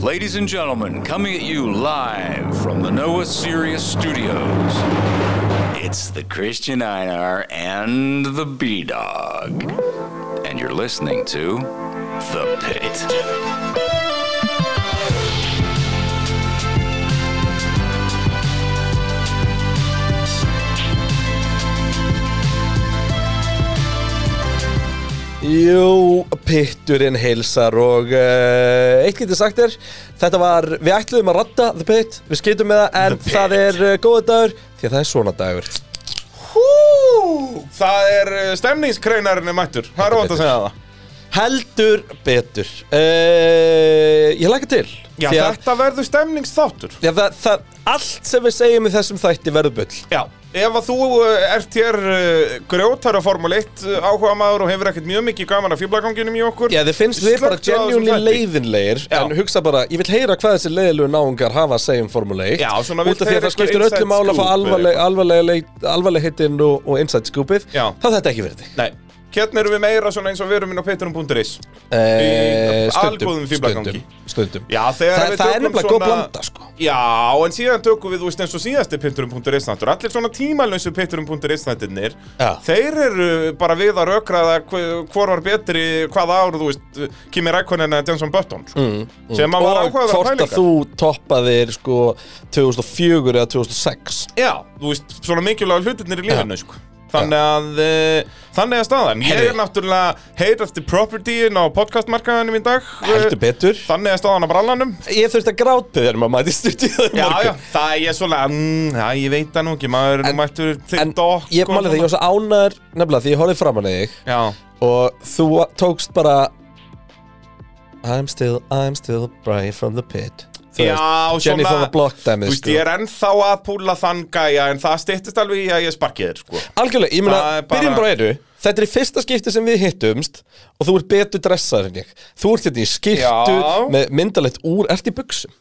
Ladies and gentlemen, coming at you live from the Noah Sirius Studios, it's the Christian Einar and the B Dog. And you're listening to The Pit. Jú, pitturinn heilsar og uh, eitt getur sagt er Þetta var, við ætluðum að ratta The Pit Við skeytum með það en The það er uh, góða dagur Því að það er svona dagur Hú, það er eh, stemningskreinarinn er mættur, það er ótt að segja það Heldur betur uh, Ég læka til Já, Því að, þetta verður stemningsþáttur já það, það, Allt sem við segjum í þessum þætti verður bull Já Ef að þú eh, ert hér uh, grjótara Formule 1 áhuga maður eh, og hefur ekkert mjög mikið gaman af fýblaganginum í okkur Já, þið finnst þið bara slökktu á þessum genuinely þætti. leiðinlegir Já. En hugsa bara, ég vil heyra hvað þessi leiðilegu náungar hafa að segja um Formule 1 Já, svona vill Út af því að heyra það eitthvað skiptir inside öllu mála að fá scoop eða alvarleg, eitthvað. alvarleg, alvarleg, alvarleg hittin og, og inside scoopið Já. Þá er þetta ekki verið þig Nei Hérna erum við meira svona eins og við erum inn á pitturum.is Eh, Í algóðum Stundum, fíflagangi. stundum, stundum Já, Þa, þegar við Það er tökum nefnilega góð svona- blanda sko Já, en síðan tökum við, þú veist, eins og síðasti pitturum.is þáttur Allir svona tímalösu pitturum.is þættirnir Já. Þeir eru bara við að rökraða hvor var betri, hvaða ár, þú veist, Kimi Rækonen eða Johnson Button sko. mm, mm. Sem að var Og áhugaðar hvort að pælingar. þú toppaðir sko 2004 eða 2006 Já, þú veist, svona mikilvæg hlutirnir í lífinu, sko Þannig að, uh, þannig að staðan Ég Heyrðu. er náttúrulega hate of the property-in á podcastmarkaðanum í dag Heldur Eh, betur Þannig að staðan á brallanum Ég þurfti að grátbið þegar maður mæti stundið Já, já, það er ég svona, mm, já, ég veit það nú ekki, maður er En- nú mættur En þitt okk ég máli þegar ég var svo ánæður Nefnilega því ég horfði framan í þig Já, Og þú tókst bara I'm still, I'm still bright from the pit Þú já veist, Jenny from the block sko. Þú dæmið veist, ég er ennþá að púla þann gæja en það styttist alveg í að ég sparki þér, sko Algjörlega, ég meina, Það er bara- byrjum bara eru Þetta er í fyrsta skipti sem við hittumst Og þú ert betur dressar en ég Þú ert hérna í skiptu Já. með myndalegt úr Ert í buksum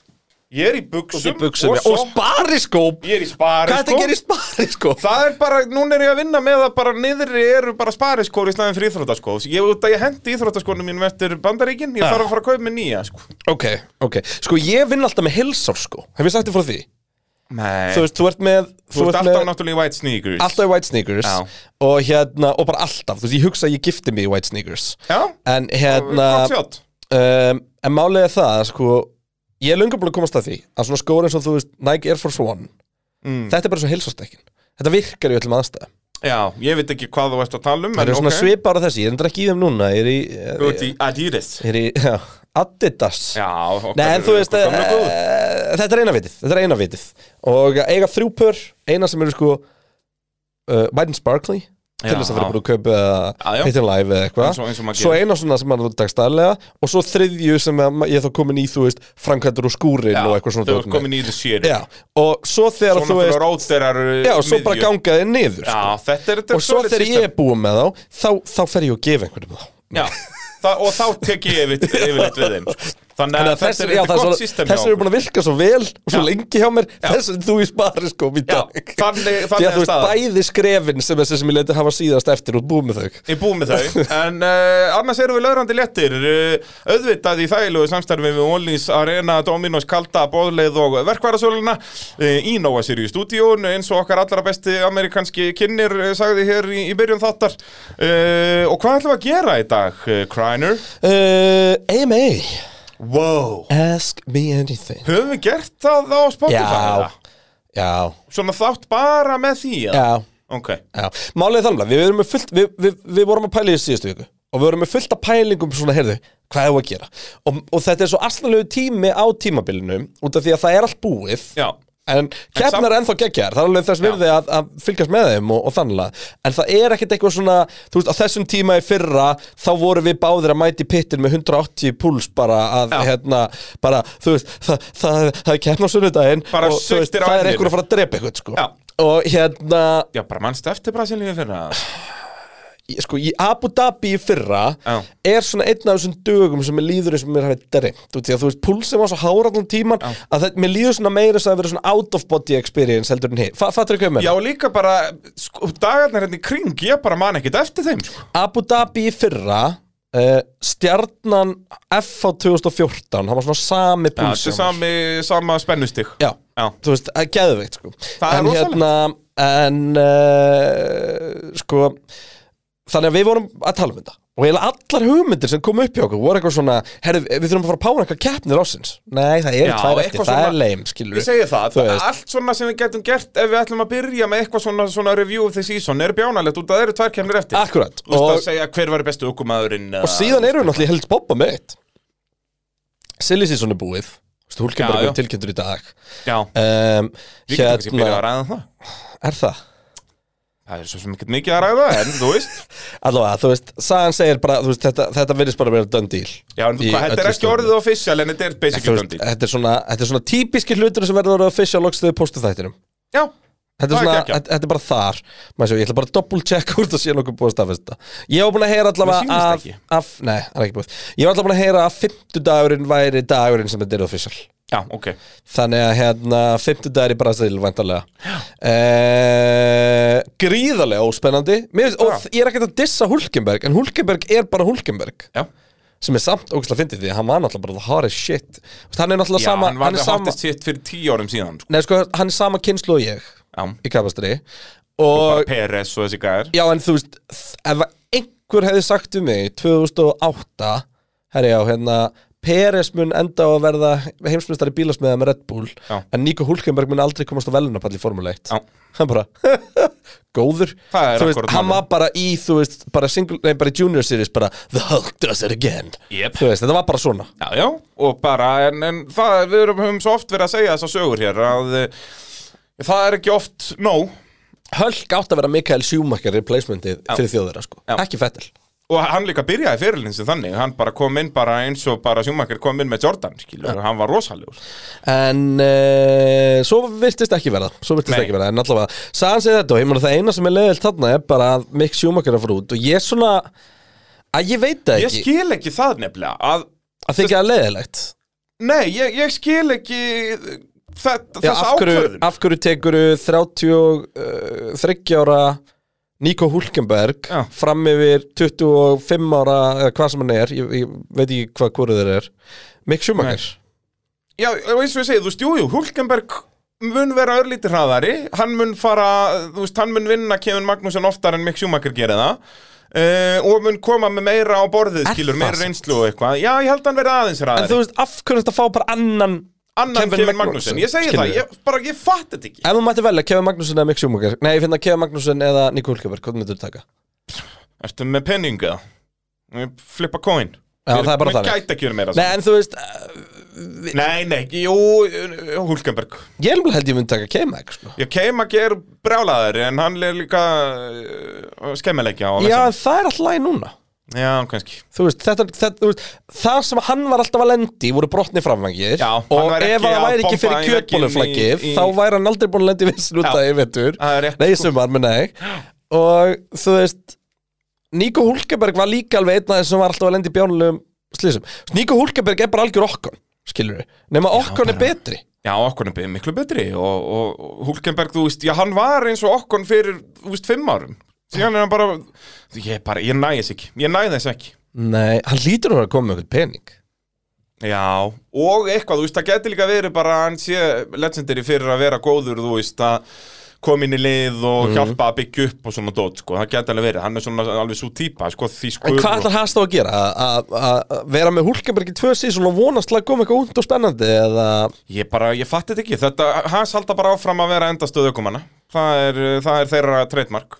Ég er í buksum, buxum, já, og og svo spariskóp Ég er í spari, sko. Hvað er þetta að gera í spariskóp? Það er bara, núna er ég að vinna með að bara niðri eru bara spariskór í snæðin fyrir íþróttaskó Ég, út að ég hendi íþróttaskónu mínum eftir bandaríkin, ég Já. þarf að fara að kaupa með nýja, sko Ok, ok Sko, ég vinn alltaf með helsár sko Hef ég sagt þér frá því? Nei, Þú veist, þú ert með þú ert alltaf með, náttúrulega í white sneakers alltaf í white sneakers Já. Og hérna, og bara alltaf Þú veist, ég hugsa að ég gifti mig í white sneakers Já, En hérna gott sjátt um, En málið er það, sko Ég er löngu búin að komast að því Að svona skóri eins og þú veist, Nike Air Force One Mm. Þetta er bara svo heilsastekkin Þetta virkar í öllum aðstæðum Já, ég veit ekki hvað þú ert að tala um Það en eru svona ok. svipar á þessi, ég er endur ekki í þeim núna Ég er í, Þú ég, ert í Adidas ég er í já, Adidas Já, okkar Nei, en eru þú veist, okkur eh, gömlu góðu. þetta er eina vitið, þetta er eina vitið Og að eiga þrjú pör, eina sem eru sko uh, Biden Sparkly Til Já. þess að fyrir búin að kaupa Já, já. eða Hittin live eða Eins og- eins og eitthvað maður Svo gerir. eina svona sem maður takst aðlega Og svo þriðju sem að ma- ég er þá komin í, þú veist, framkvæmdur og skúrin Já, og eitthvað svona Þú dót ert með. komin í þessu séri Já, og svo þegar þú Svo náttúrulega veist róterar Já, og svo bara gangaði niður Já, sko. þetta er þetta Og svo þegar ég er búin með þá Þá, þá fer ég að gefa einhverjum um þá Já, það, og þá tek ég yfir, yfirleitt við þeim sko. Þannig að þetta er já, þetta það gott svona- system þessir eru búin að virka svo vel og svo Já. lengi hjá mér, þessir þú í spari sko í Já, dag þannig- Því að þú þannig er veist staðan. bæði skrefin sem þessi sem ég leiti hafa síðast eftir og búið með þau Ég er búið með þau, en uh, annars erum við lögrandi léttir uh, Auðvitað í þægilegu samstarfi við Ólís Arena, Dominos, Kalda, Bóðleið og verkvarasöluna uh, Í Nóa Sirius stúdíón, eins og okkar allra besti amerikanski kynir uh, sagði hér í, í byrjun þáttar uh, Og hvað ætlum við að gera í dag, uh, Kreiner? Eh, uh, AMA, Wow ask me anything Höfum við gert það á Spotify? Já, eða? já, Svona þátt bara með því? eða? já, Ok já Málið er þannig að við, erum með fullt, við, við, við vorum að pæla í þessu síðustu viku og við vorum með fullt af pælingum svona, heyrðu, hvað hefur að gera og, og þetta er svo asnalegu tími á tímabilinu út af því að það er allt búið Já En keppnar er ennþá geggjar, það er alveg þess virði að, að fylgjast með þeim og, og þannlega En það er ekkert eitthvað svona, þú veist, á þessum tíma í fyrra Þá voru við báðir að mæti pittin með 180 púls bara að, Já. hérna, bara, þú veist, það, það, það, er keppn á sunnudaginn Bara Og þú veist, sultir á það er enninu. eitthvað að fara að drepa eitthvað, sko Já. Og hérna, Já, bara mannstu eftir Brasilíu fyrir það í- sko, í Abu Dhabi í fyrra Já. Er svona einn af þessum dögum sem mér líður eins og mér hafi dreymt Þú veist, því að þú veist, púlsið var svo hár allan tíman Að það, mér líður svona meira þess að vera svona out of body experience heldur en hitt Fa- Fattar ekki hvað ég meina? Já, líka bara, sko, dagarnir hérna í kring, ég bara man ekkert eftir þeim, sko Abu Dhabi í fyrra uh, Stjarnan FH 2014 Það var svona sami Já, púls þetta er sami, sama spennustig Já, Já. þú veist, það er geðveikt sko. Það er En rosalegt. hérna En uh, Sko Þannig að við vorum að tala um þetta Og eiginlega allar hugmyndir sem kom upp hjá okkur voru eitthvað svona Herri, við þurfum að fara að pána eitthvað keppnir ásins Nei, það eru Já, tvær eftir, eitthvað það er svona- leim, skilur Ég segi það, Þú veist. allt svona sem við getum gert ef við ætlum að byrja með eitthvað svona, svona review of the season er bjánalegt út að það eru tvær kemur eftir Akkurat Þú veist og, að segja hver var bestu okkumæðurinn og síðan erum við náttúrulega held bobba með eitt Silly season er búið Þú veist, Já, Hulkenberg já. er tilkynntur í dag Já, um, við getum kannski byrjað að ræða það Er það? Það er svo sem ekkert mikið að ræða, en þú veist Allavega, þú veist, sagan segir bara, þú veist, þetta, þetta virðist bara að vera done deal Já, en Í þú- hvað, þetta er öllu ekki orðið official en þetta er Þú basically veist, döndi þetta er svona, þetta er svona típiski hlutur sem verður að fissja loks þegar postu þættinum Já, Þetta er, Það er svona, geggjað. þetta þetta er bara þar Maður svo, Ég ætla bara að double check úr það síðan okkur búið að staðfesta Ég var búin að heyra Mér allavega sýnist að, ekki. að Nei, það er ekki búið Ég var allavega búin að heyra að fimmtudagurinn væri dagurinn sem þetta er official já, ok Þannig að hérna, fimmtudagur í Brasil, væntalega eh, Gríðarlega óspennandi Mér, finnst- Og Já. ég er ekkert að dissa Hulkenberg En Hulkenberg er bara Hulkenberg Já, sem er samt ógæslega fyndið því að hann var náttúrulega bara the hottest shit Þú veist, hann er náttúrulega já sama, hann var er það sama hottest hitt fyrir tíu árum síðan sko. nei, sko, hann er sama kynslu og ég Já, í kapastri bara og PRS og þessi gæðir já en þú veist þ- ef einhver hefði sagt um mig 2008 herri já hérna Peres mun enda á að verða heimsmyndstari bílasmiða með Red Bull Já. en Nico Hulkenberg mun aldrei komast á velunapall í Formule 1 Já. hann bara góður Það er Þú veist, akkúrat hann málið. var bara í þú veist bara, single, nei, bara í junior series bara the Hulk does it again Yep. Þú veist, þetta var bara svona Já, já, og bara, en, en það, við erum höfum svo oft verið að segja þessar sögur hér að eh, það er ekki oft nóg Hölk átt að vera Mikael Sjúmakar replacementið fyrir þjóðverða sko Já. Ekki Fettel og hann líka byrjaði fyrirlinn sem þannig hann bara kom inn bara eins og bara sjúmakar kom inn með Jordan, skilur, hann var rosalegur En uh, svo virtist ekki verða Svo virtist Nei. ekki verða En allavega Sagan segir þetta og ég meina það eina sem er leiðilt þarna er bara að Mik Sjúmakar er að fara út Og ég svona Að ég veit það Ég ekki skil ekki það nefnilega að, Að þykja það leiðilegt nei, ég, ég skil ekki þetta, Já, þessa af hverju, ákvörðun af hverju tekur 33 eh, ára Nico Hulkenberg Já. fram yfir 25 ára eða hvað sem hann er, ég, ég veit ekki hvað hvorið þeir er Mik Sjúmakar Já, og eins og ég segi, þú veist, jú, jú, Hulkenberg mun vera örlítið hraðari hann mun fara, þú veist, hann mun vinna Kevin Magnússon oftar en Mick Schumacher gerir það uh, og mun koma með meira á borðið, Er skilur, það meira samt? reynslu og eitthvað já, ég held að hann verið aðeins En þú hraðari veist, af hverju þetta fá bara annan annan Kevin, Kevin Magnússon, ég segi skilurðu? það, ég, bara ég fatt þetta ekki Ef þú mætti velja Kevin Magnússon eða Mick Schumacher Nei, ég finna Kevin Magnússon eða Nico Hulkeberg Hvað myndir þú taka? Ertu með penninga? Flippa coin Já, það er bara Mér þannig. gæti ekki verið meira Nei, nei, en þú veist eh, nei, nei, jú, Hulkenberg Ég er alveg held ég myndi taka K-Mag sko. Ég kem að gera brjálaðari en hann er líka uh, skemmilegja Já, en það er alltaf læg núna já, kannski Þú veist, þetta, þetta, þú veist, það sem hann var alltaf að lendi voru brotni framvængir Já, hann og var ekki ef það að væri ekki pompa fyrir í kjötbóluflaggið vegginn í- í- þá væri hann aldrei búin að lendi vissin út Já, að ég vetur það er rétt, Nei, sko. sumar, menn nei og þú veist Nico Hulkeberg var líka alveg einn af þessum sem var alltaf að lendi bjánulegum slísum Nico Hulkeberg er bara algjör okkon, skilur við nema okkon er betri Já, Okkon er be- miklu betri og, og, og Hulkenberg, þú veist, já, hann var eins og Okkon fyrir, þú veist, fimm árum síðan er hann bara, ég bara, ég næði þess ekki ég næði þess ekki Nei, hann lítur að vera að koma með eitthvað pening Já, og eitthvað, þú veist, það geti líka verið bara að hann sé legendary fyrir að vera góður, þú veist, að koma inn í lið og Mhm. hjálpa að byggja upp og svona dót, sko, það geti alveg verið, hann er svona alveg svo típa, sko, því sko En hvað ætlar hans þá að gera? Að- að- Að vera með Hulkeberg í tvö sísón og vonast til að koma eitthvað und og spennandi eða Ég bara, ég fatti þetta ekki, þetta, hans halda bara áfram að vera endastöð ökumanna, það er, það er þeirra trademark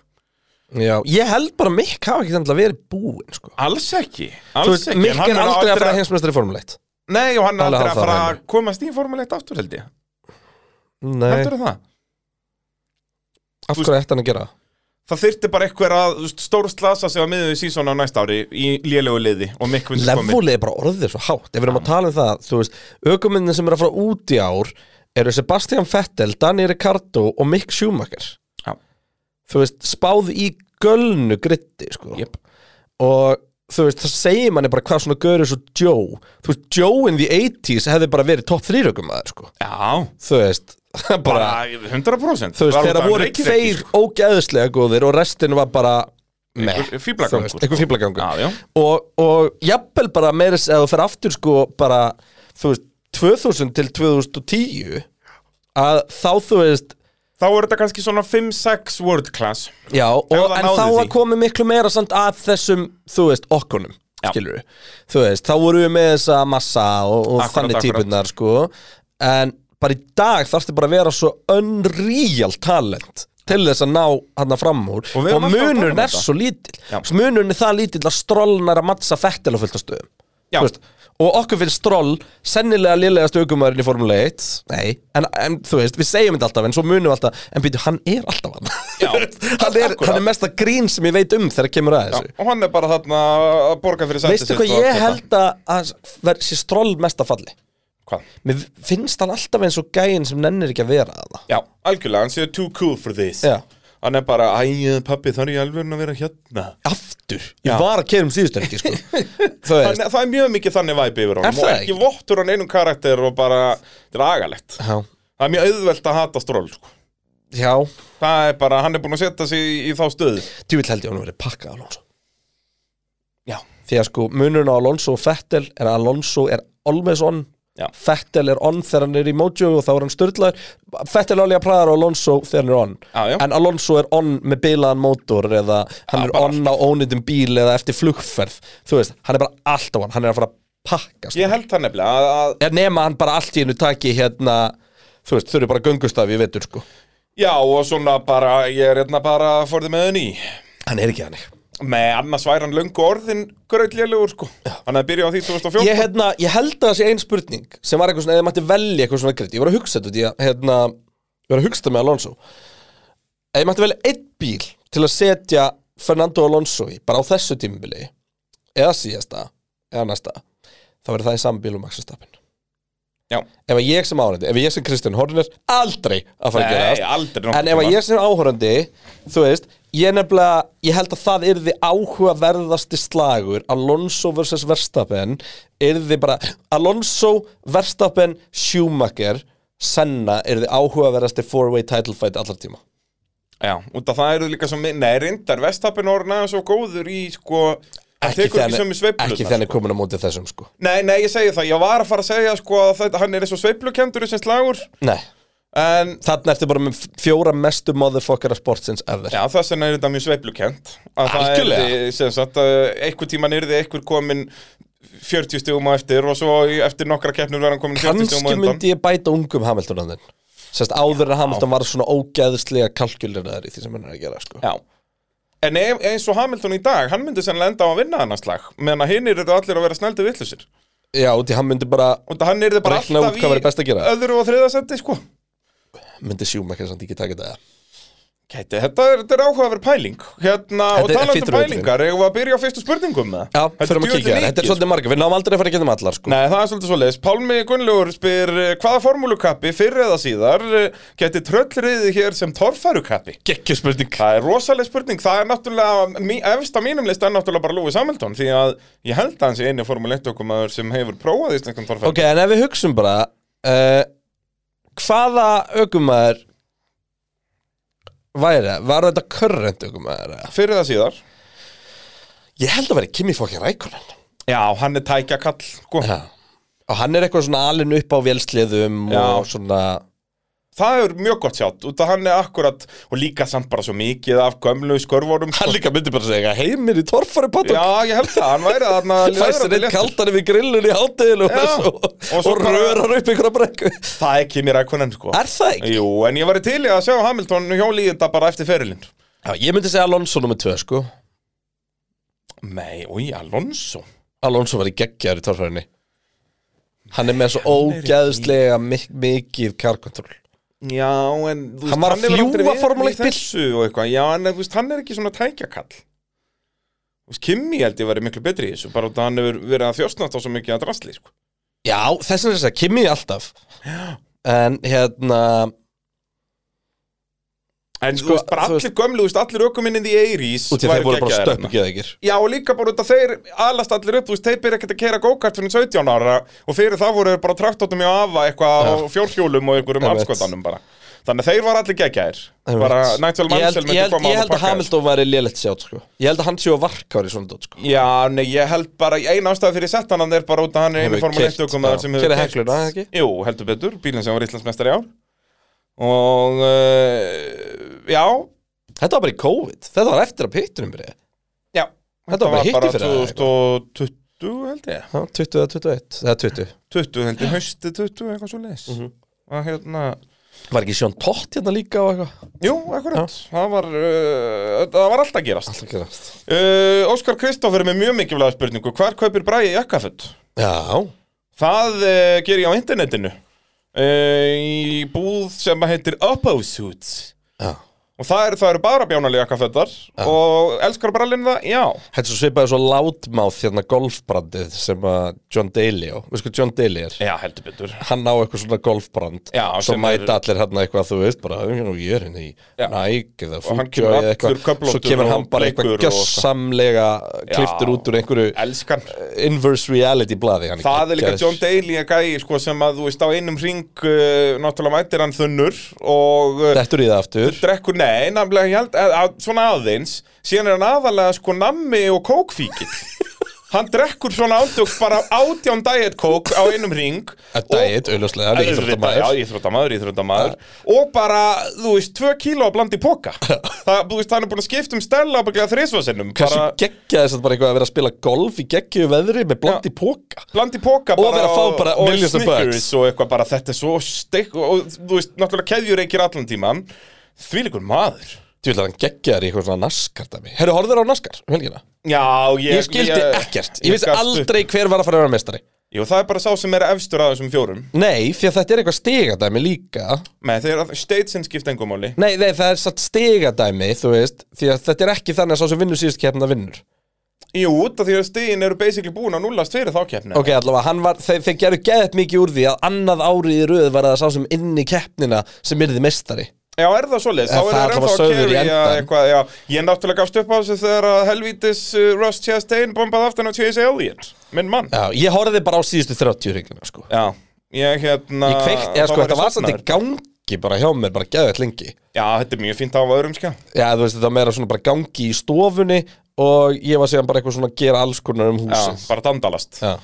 Já, ég held bara að Mikk hafa ekki þannig að verið búinn sko. Alls ekki, Þú alls veist, ekki en Mikk hann er mun aldrei að aldrei fara heimsmeistri í formuleitt Nei, og hann er Alveg aldrei að hálfrar fara að henni. komast í formuleitt aftur held ég Nei, Heldur það? af hverju ætti hann að gera? það? Það þyrfti bara eitthvað að stór slasa sig á miðið sísón á næsta ári í lélegu liði og mikk vinst komið Levúli er bara orðið svo hátt Ef við erum að tala um það, þú veist Ökumennir sem eru að fara út í ár eru Sebastian Vettel, Dani Ricardo og Mick Schumacher Já. Þú veist, spáð í gölnu gritti sko. Jep. Og þú veist, það segir manni bara hvað svona görið svo Joe Þú veist, Joe in the 80s hefði bara verið topp þrýrökum aður sko. Já, Þú veist, bara, bara 100% Þú veist, Var þeirra út af voru Reykjavík, tveir sko. ógeðslega góðir og restin var bara Nei. Fýblagangur einhver fíblagangur Já, já. og, og jafnvel bara meira eða þú fer aftur sko bara þú veist 2000 til 2010 að þá þú veist Þá er þetta kannski svona 5-6 world class já, og, það en náði þá því. að komið miklu meira samt að þessum þú veist okkunum skilur þú veist þá voru við með þessa massa og, og Akkurat, þannig akkurat. típunar sko en bara í dag þarfstu bara að vera svo unreal talent til þess að ná hann fram úr Og og, við erum alltaf að tala munurinn um er þetta. svo lítill Já. munurinn er það lítill að strólnar að mattsa fettil á fullt af stöðum Já. Þú veist, og okkur finnst stról sennilega lélegast aukumæðurinn í Formule 1 nei, en, en þú veist, við segjum þetta alltaf en svo munum við alltaf, en býtu, hann er alltaf hann Já, hann, er, akkurat. hann er mesta grín sem ég veit um þegar kemur að Já, þessu Og hann er bara þarna að borga fyrir sæti veistu sitt hvað og allt ég þetta. held að, að ver, sé stról mesta falli Hvað? mér finnst hann alltaf eins og gæinn sem nennir ekki að vera að það Já, algjörlega, hann séu too cool for this Já. Hann er bara, æ, pappi, það er ég alveg að vera hérna aftur, ég Já. var að kera um síðustu ekki sko. þú Þannig, veist að það er mjög mikið þannig væpi yfir Er honum það og ekki? ekki vottur hann einum karakter og bara dragalegt já, Það er mjög auðvelt að hata stról sko. já, Það er bara, hann er búin að setja sig í, í þá stöðu djúvill held ég að hann verið pakkað Alonso Já, því að sko munurinn á Alonso og Fettel er að Alonso er always on Já. Fettel er on þegar hann er í Mojo og þá er hann störtlaður Fettel alveg að praða á Alonso þegar hann er on Já, já. en Alonso er on með bilaðan mótor eða hann Já, er bara on á ónýttum bíl eða eftir flugferð þú veist, hann er bara alltaf on, hann er að fara að pakka sko. ég held það nefnilega að, að er nema hann bara allt í hennu taki hérna þú veist, þau eru bara göngustafi, ég veitur sko Já, og svona bara, ég er hérna bara for the meðan í hann er ekki þannig Með annars væri hann löngu orðin gröðlélegur sko Hann hefði byrjað á því 2014 ég, hérna, ég held að það sé ein spurning sem var eitthvað svona, eða mætti velja eitthvað svona greit ég var að hugsa þetta, út í að, hérna ég var að hugsa þetta með Alonso eða ég mætti velja einn bíl til að setja Fernando Alonso í, bara á þessu tímubili eða síðasta eða næsta, þá verður það í sambíl og Maxi Stappin Já, ef að ég sem áhörandi, ef ég sem Kristján Horner aldrei að fara að gera Nei, aldrei nokkurn en ef að tímann. ég sem áhörandi þú veist, ég nefnilega ég held að það yrði áhugaverðasti slagur Alonso vs. Verstappen yrði bara Alonso, Verstappen, Schumacher Senna yrði áhugaverðasti four-way title fight allar tíma já, út af það eru líka svo mi- Nei, reyndar, vestapin orðin aðeins og góður í sko hann ekki tekur ekki sömu sveiflurnar, ekki þenni komin á móti þessum sko Nei, nei, ég segi það, ég var að fara að segja sko að þetta, hann er eins og sveiflukendur sem slagur nei, En þarna ertu bara með fjóra mestu motherfuckera sportsins ever já, þess vegna er þetta mjög sveiflukent Að það Algjörlega. er sem sagt að einhver tíman yrði einhver komin 40 stegum á eftir og svo í- eftir nokkra keppnur verðan komin 40 stegum á kannski undan myndi ég bæta ungum Hamilton að þinn Sérst áður en Hamilton var svona ógæðslega kalkjuleraður í því sem hann er að gera sko. Já En ef, eins og Hamilton í dag, hann myndi sennilega enda á að vinna hann að slag Meðan að hinn eru allir að vera snældi villusir Já, því hann myndi bara Og það hann eru bara Reikna út hvað væri best alltaf að gera. öðru og þriða seti sko myndi sjúma ekki samt ekki taka þetta Kæti, þetta er, þetta er áhugaverð pæling Hérna, Þetta og er talandi um fittur völlurinn. pælingar, eigum við að byrja á fyrstu spurningum með Já, förum að kíkja það, þetta er svolítið marga, við náum aldrei að fara að geta um allar sko. Nei, það er svolítið svoleiðis. Pálmi Gunnlaugur spyr eh, hvaða formúlukappi fyrr eða síðar eh, geti tröllriðið hér sem torfærukappi? Gekkjur spurning Það er rosaleg spurning. Það er náttúrulega, mí- efst á mínum list er náttúrulega bara Lúi Samhildón því að ég held að hans er eini formúl 1 okkumaður sem hefur prófað íslenskan torfæru. Ok, en ef við hugsum bara uh, Hvaða ökumæður væri það? Var þetta current ökumæður? eða? Fyrr eða síðar. Ég held að vera Kimi fokkin Rækonen Já, hann er tækja kall. Sko. Já Og hann er eitthvað svona alinn upp á vélsliðum og Já. svona Það er mjög gott sjátt út að hann er akkurat og líka samt bara svo mikið af gömlu skörvorum. Hann líka myndi bara segja heimir í torfari patok Já, ég held það. Hann væri þarna Fæst löðrandi hann eitt léttur. kaldan yfir grillun í hátil og, Já. og, Og og, svo bara- rörar upp ykkur að brekku Það er Kimi Rækonen sko Er það ekki? Jú, en ég var til í að sjá Hamilton hjóli í þetta bara eftir ferilinn Já, ég myndi segja Alonso nummer 2 sko Nei, oi, Alonso Alonso var í geggjar í torfærinni Hann er með svo ógeðslega mik mikið kjarkontról Já, en þú Hann var að hefur aldrei fljúga verið Formule í 1 bíl. þessu og eitthvað Já, en þú veist, hann er ekki svona tækjakall Þú veist, Kimi held ég verið miklu betri í þessu Bara út að hann hefur verið að þjóstnátt á svo mikið að drasli sko. Já, þess vegna er þess að Kimi alltaf En hérna En Sko, þú veist, bara þú allir gömlu, þú veist, allir ökuminnin í Eirís Út í þeir voru bara stöppugeðegir Já, og líka bara út að þeir alast allir upp, þú veist, þeir byrja ekkert að keira go-kart fyrir 17 ára og fyrir það voru þeir bara traktóttum í afa eitthvað á fjórhjólum og einhverjum Einmitt. afskotanum bara. Þannig að þeir var allir geggjaðir Einmitt. Bara Nigel Ég held, Mansell ég myndi held, koma á ég held að pakka þér. Hamilton væri lélegt sjátt sko. Ég held að hann séu að varkári svona dót sko. Já, nei, ég held bara, eina ástæða fyrir sett hann er bara út að hann er Hefur einu formule keyrt, 1 já. ökumaður sem hefur Keyrir hekluna, ekki? Jú, heldur betur, bílinn sem var Íslandsmeistari á Og, uh, já, Þetta var bara í COVID Þetta var eftir að pittunum byrja já Þetta var bara hitti fyrir það, 2020 held ég 20 eða 21 Eða 20 20 held ég, hausti 20, eitthvað svo leis Mhm. Og hérna, Var ekki Sjón Tótt hérna líka og eitthvað jú, akkurat Það var, uh, það var allt að gerast Alltaf gerast uh, Óskar Kristófur er með mjög mikilvæg spurningu Hvar kaupir bræði jakkaföld? Já Það uh, ger ég á internetinu uh, Í búð sem að heitir Upposuits Já Og það eru, það eru bara bjánalega kaffettar Og elskar brallin það? Já Þetta er svo svipaði svo látmáð hérna golfbrandið sem að John Daly á Við sko John Daly er Já, heldur betur Hann á eitthvað svona golfbrand Já, Svo sem mæta er- allir hérna eitthvað þú veist bara "Nú, Ég er hérna í Já. Nike eða hann Fúkjó kemur eða allur köflóttur eitthvað Svo kemur hann og bara eitthvað bleikur og- gjössamlega kliftur út úr einhverju eh, Elskar inverse reality blaði hann Það er líka geggjaður. John Daly að gæi sko, sem að þú veist á einum ring uh, náttúrulega mætir hann þunnur og uh, Dettur í það aftur drekkur nei, nefnilega ég held að, að, svona aðeins síðan er hann aðalega sko nammi og kókfíkil hann drekkur svona ándjóks bara átján diet kók á einum ring Að dæið, auðvitað, hann er ekki þrótt að Já, maður íþróttamaður, íþróttamaður Og bara, þú veist, tvö kíló að blandi í póka Það, þú veist, hann er búin að skipta um stella ábygglega þrisvasinnum Hversu Bara geggja þess að bara eitthvað að vera að spila golf í geggju veðri með blandi póka blandi í póka Og vera að fá bara og millions of Snickers bucks. Og eitthvað bara, þetta er svo steik og, og þú veist, náttúrulega keðjur ekki allan tíman Þvílíkur maður Þú vil að hann geggja þér í eitthvað svona naskar dæmi Herru, horfður á naskar, um helgina? Já, ég Ég skildi ekkert Ég vissi gafst upp. aldrei hver var að fara að vera mestari Jú, það er bara sá sem er efstur að þessum fjórum Nei, því að þetta er eitthvað stigadæmi líka Nei, þeir eru statesin skipta engum máli Nei, nei það er satt stigadæmi, þú veist Því að þetta er ekki þannig að sá sem vinnur síðust keppna vinnur Jú, út af því að stegin eru basically búin að nullast fyrir þá keppni Ok, allavega, hann var, þeir, þeir gerðu geðt mikið úr því að annað árið í röð var að það sá sem inn í keppnina sem yrði mestari Já, er það svoleiðis? Það Þá er það það allavega ennþá að sögður í kerja endan. eitthvað, já. Ég náttúrulega gafst upp á þessu þegar að helvítis uh, Russ Chastain bombað aftan á Chase Elliott, minn mann. Já, ég horfði bara á síðustu 30 ringina, sko Já, ég hérna... Ég kveikt, eða þá sko, þetta ég var samt í sofnaður. gangi bara hjá mér, bara geðvægt lengi Já, þetta er mjög fínt að hafa öðrum sko. skjá. Já, þú veist, þetta var meira svona bara gangi í stofunni og ég var síðan bara eitthvað svona að gera alls konar um Já, húsið bara dandalast. Já,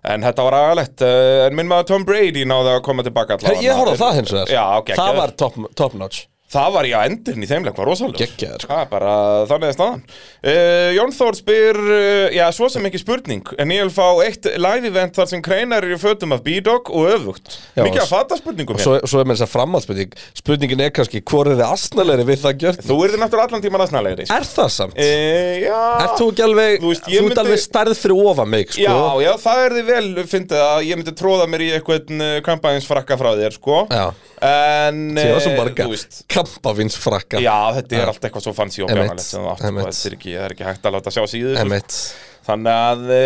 En þetta var agalegt. Uh, en minn maður Tom Brady náði að koma tilbaka Her, allavega. ég horfði á það hins vegar Já, ok, Það var top, top notch Það var ég að endurinn í þeimleik, var rosalega Geggjaður, sko. Það er bara þannig að staðan uh, Jón Þór spyr, uh, já, svo sem ekki spurning En ég vil fá eitt live event þar sem kreinar eru í fötum af B-Dog og öfugt Já, Mikið og að fata spurningum hérna. hér Svo, svo er mér þess að framhaldsspurning Spurningin er kannski, hvor er þið astnalegri við það gjört? Þú erði náttúrulega allan tíman aðsnalegri sko. Er það samt? uh, Já Ert þú ekki alveg, Þú þú, veist, ég ert myndi- alveg stærð fyrir ofan mig, sko Já, já, það er því vel, fyndið að ég myndi tróða mér í eh, eitthvað kampæðinsfrakka frá þér, sko Já. En, Því það eh, sem marga þú veist kampavinsfrakka Já, þetta er allt eitthvað svo fancy og Einmitt, bjánalegt sem þú átt, sko, einmitt. þetta er ekki, það er ekki hægt að láta sjá síður sko. Emmett Þannig að e,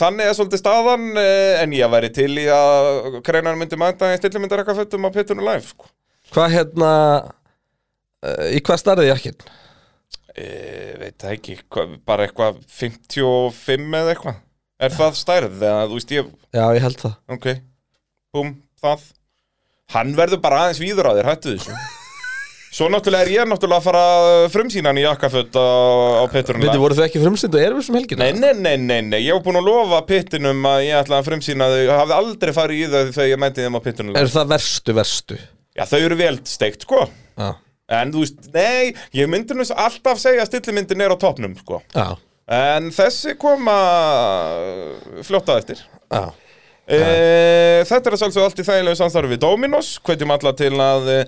þannig er svolítið staðan e, en ég væri til í að kreinar myndi mænta en stillimyndar eitthvað fötum á pittunum live sko. Hvað hérna eh, Í hvað starði jakkinn? e, veit það ekki, hva, bara eitthvað 55 eða eitthvað er það stærð eða þú veist ég Já, ég held það ok, búm, það hann verður bara aðeins víður á þér, hættu þessu Svo náttúrulega er ég náttúrulega að fara að frumsýna hann í jakkaföt á, á pittunum Veitir, voru þau ekki frumsyndu erfis um helgina? Nei, nei, nei, nei, nei, ég var búin að lofa pittinum að ég ætlaði að frumsýna þau Ég hafði aldrei farið í þau þegar ég mæti þeim á pittunum Er það verstu, verstu? Já, þau eru vel steikt, sko Já, En þú veist, nei, ég myndi nú alltaf segja að stillimyndin er á topnum, sko já, En þessi koma fljótt að eftir já E, þetta er að sjálfsögðu allt í þægilegu samstarfi við Dominos Hvetjum alla til að e,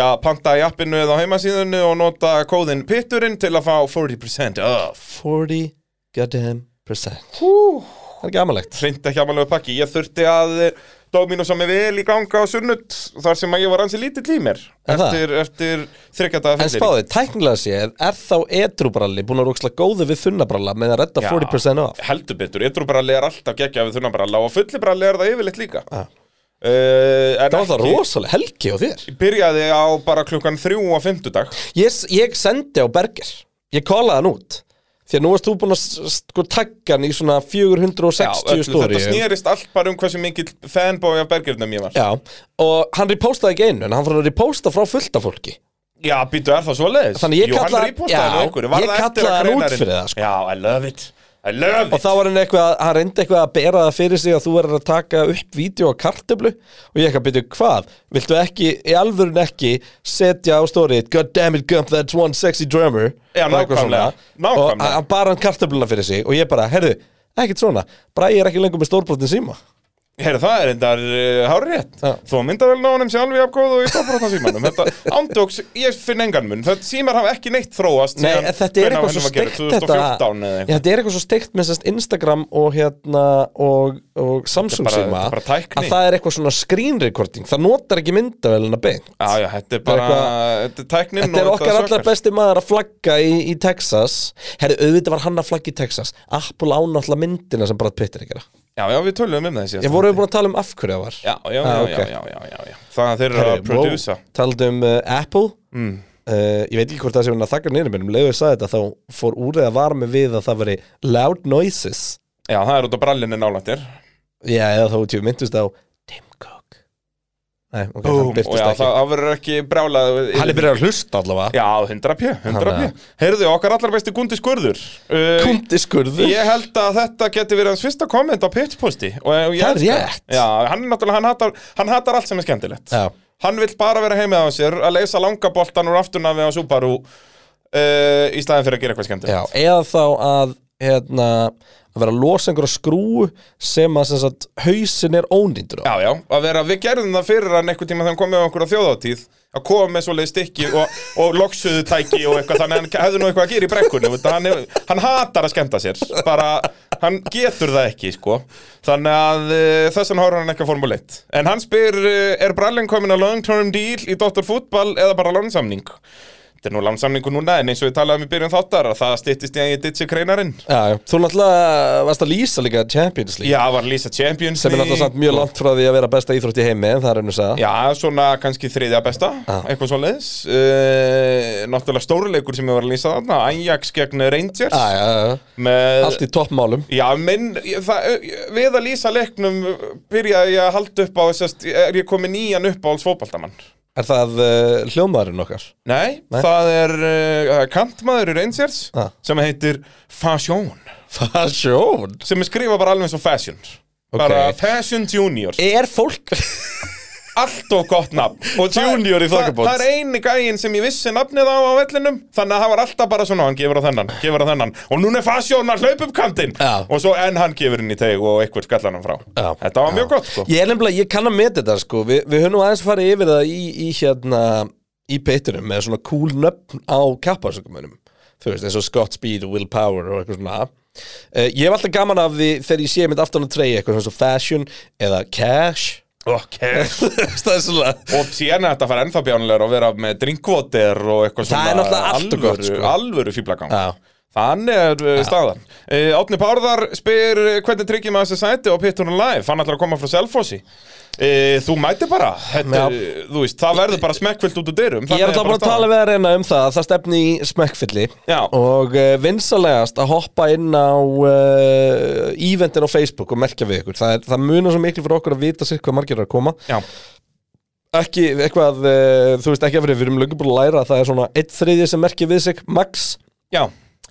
já, panta í appinu eða á heimasíðunni og nota kóðin pitturinn til að fá 40% off 40 goddamn percent Það er gamanlegt Hreint ekki amalegu pakki Ég þurfti að e, Dominos á mig vel í ganga á sunnut þar sem að ég var ansi lítill í mér Er það? eftir, eftir þryggjadaða En spáðið, tæknilega séð, er þá edrubralli búin að rúksla góðu við þunnabralla með að redda Já, 40% af? heldur betur, ytrubralli er alltaf geggja við þunnabralla og fullibralli er það yfirleitt líka Já. Eh, en Það var það ekki- rosalega helgi á þér Ég byrjaði á bara klukkan þrjú á fymtudag Ég, ég sendi á Berger Ég kólaði hann út Því því að nú varst þú búin að s- sko taggan í svona 460 öllu stóri þetta snerist allt bara um hversu mikill fanboy af bergjörnum ég var Já, og hann repostaði ekki einu en hann fór að reposta frá fullta fólki Já, býtu, er það svoleiðis? Þannig ég kalla- Jú, hann repostaði já, nú einhverju, var ég það eftir kalla að hann út greinarinn? fyrir það, sko. Já, I love it, I love og it þá var hann eitthvað, hann reyndi eitthvað að bera það fyrir sig að þú verður að taka upp vídeo á kartöflu og ég eitthvað byrju hvað viltu ekki, í alvörun ekki setja á stórið, god damn it Gump that's one sexy drummer Já, Og eitthvað svona. nákvæmlega, og nákvæmlega. hann- hann bara hann kartöfluna fyrir sig og ég bara, herðu, ekkert svona Bræði er ekki lengur með stórbrotin síma Herra, það er endar uh, hárið rétt Já. Þó myndavelna á honum sjálf í afgóð og í stofbrotna símanum Þetta ándjóks, ég finn engan mun Þetta símar hafa ekki neitt þróast Nei, síðan en þetta er eitthvað hvenær hann svo var gerður, steikt þetta 2014 eða Já, eitthvað þetta er eitthvað svo steikt með sérst Instagram og hérna og, og Samsung bara- síma þetta er bara tækni. að það er eitthvað svona screen recording það notar ekki myndavélina beint Já, já, þetta er bara, eitthvað- þetta er tæknin Þetta er og okkar allar sökkar. besti maður að flagga í, í Texas Herri, auðvitað var hann að flagga í Texas Apple ánáttúrulega myndina sem bara pittir ykkur Já, já, við töluðum um það í síðasta Ég voru þætti. við búin að tala um af hverju það var Já, já, Ah, já, ok. já, já, já, já, já Það þeir eru að prodúsa Taldum um uh, Apple Mm. uh, Ég veit ekki hvort það sem hann að þakka nýri minn Um leiðu ég sagði þetta þá fór úr eða var með við að það veri loud noises Já, það er út á brallinni nálættir Já, eða þá tjú myndust á Tim Cook Nei, ok, hann Búm, og byrtist já, ekki það það verður ekki brálað Hann er byrjað að hlusta allavega Já, 100 pjö, 100 Hann, pjö Heyrðu, okkar allar besti Gundi Skurður uh, Kundiskurður Ég held að þetta geti verið hans fyrsta komment á pitchposti Það Það er rétt. Já, hann er náttúrulega, hann hatar, hann hatar allt sem er skemmtilegt Já. Hann vill bara vera heimið á sér að leysa langaboltan úr aftuna við á Subaru uh, í staðin fyrir að gera eitthvað skemmtilegt Já, eða þá að hérna, að vera að losa einhverja skrúu sem að sem sagt, hausin er ónýndur á Já, já, að vera, við gerðum það fyrir hann einhvern tíma þegar hann komið á okkur á þjóðáttíð að koma með svoleið stykki og, og loksuðu tæki og eitthvað, þannig að hann hefði nú eitthvað að gera í brekkunni veit, hann, hef, hann hatar að skemmta sér bara, hann getur það ekki sko. þannig að uh, þess vegna horfður hann ekki að formule 1 en hann spyr, uh, er Brallin komin að long term deal í Dr. Fútball eða bara lánsamning? Þetta er nú lánsamningu núna en eins og við talaðum í byrjun þáttar að það styttist í að ég ditsi kreinarinn Já, þú náttúrulega varst að lýsa líka Champions League Já, var Lisa Champions sem er náttúrulega samt mjög langt frá því að vera besta íþrótt í heimi en það er hennu sagða Já, svona kannski þriðja besta, eitthvað svo leiðis Náttúrulega stóruleikur sem ég var að lýsa þarna Ajax gegn Rangers Já, já, já, með, allt í toppmálum Já, minn, ég- það, við að lýsa leiknum byrjaði ég að halda upp á sest, er ég komið nýjan uppáhalds fótbaltamann Er það uh, hljómaðurinn okkar? Nei, Nei. það er uh, kantmaður í Rangers Ah. sem heitir Fashion Fasjón sem er skrifa bara alveg eins og Fashion bara Fashion Junior Er fólk allt og gott nafn og það- Junior í það- þokkabót. Það er eini gæinn sem ég vissi nafnið á á vellinum Þannig að það var alltaf bara svona, hann gefur á þennan, gefur á þennan Og núna er fasjón að hlaupa upp kantinn Já. Og svo enn hann gefur inn í teg og eitthvað skallar hann frá Já. Þetta var mjög gott sko Ég er nefnilega, ég kann að meta þetta sko Vi, Við höfum nú aðeins farið yfir það í, í hérna í peitunum með svona cool nöfn á kapparsökumunum þú veist, eins og Scott Speed og Will Power og eitthvað svona uh, Ég hef alltaf gaman af því þegar ég sé mitt aftan að treyja eitthvað svona fashion eða cash Ok Það er svona Og síðan er þetta að fara ennþá bjánulegur að vera með drinkvoter og eitthvað Það svona er náttúrulega allt og alvöru- gott, sko. Alvöru fýblagang Já. Þannig er uh, staðan uh, Átni Párðar spyr uh, hvernig tryggjum að þessi sæti og pittunum live Hann ætlar að koma frá Selfossi uh, Þú mæti bara þetta, Já. Þú veist, það verður bara smekkfullt út úr dyrum Ég er alltaf búin að tala við að reyna um það að Það stefni í smekkfylli Já. Og uh, vinsalegast að hoppa inn á uh, Eventin á Facebook og merkja við ykkur Það, er, það munar svo miklu fyrir okkur að vita sér hvað margir eru að koma Já, Ekki eitthvað, uh, þú veist ekki að fyrir Við erum lögum búin að læra að það er svona Eitt þriðið sem merkja við sig, max já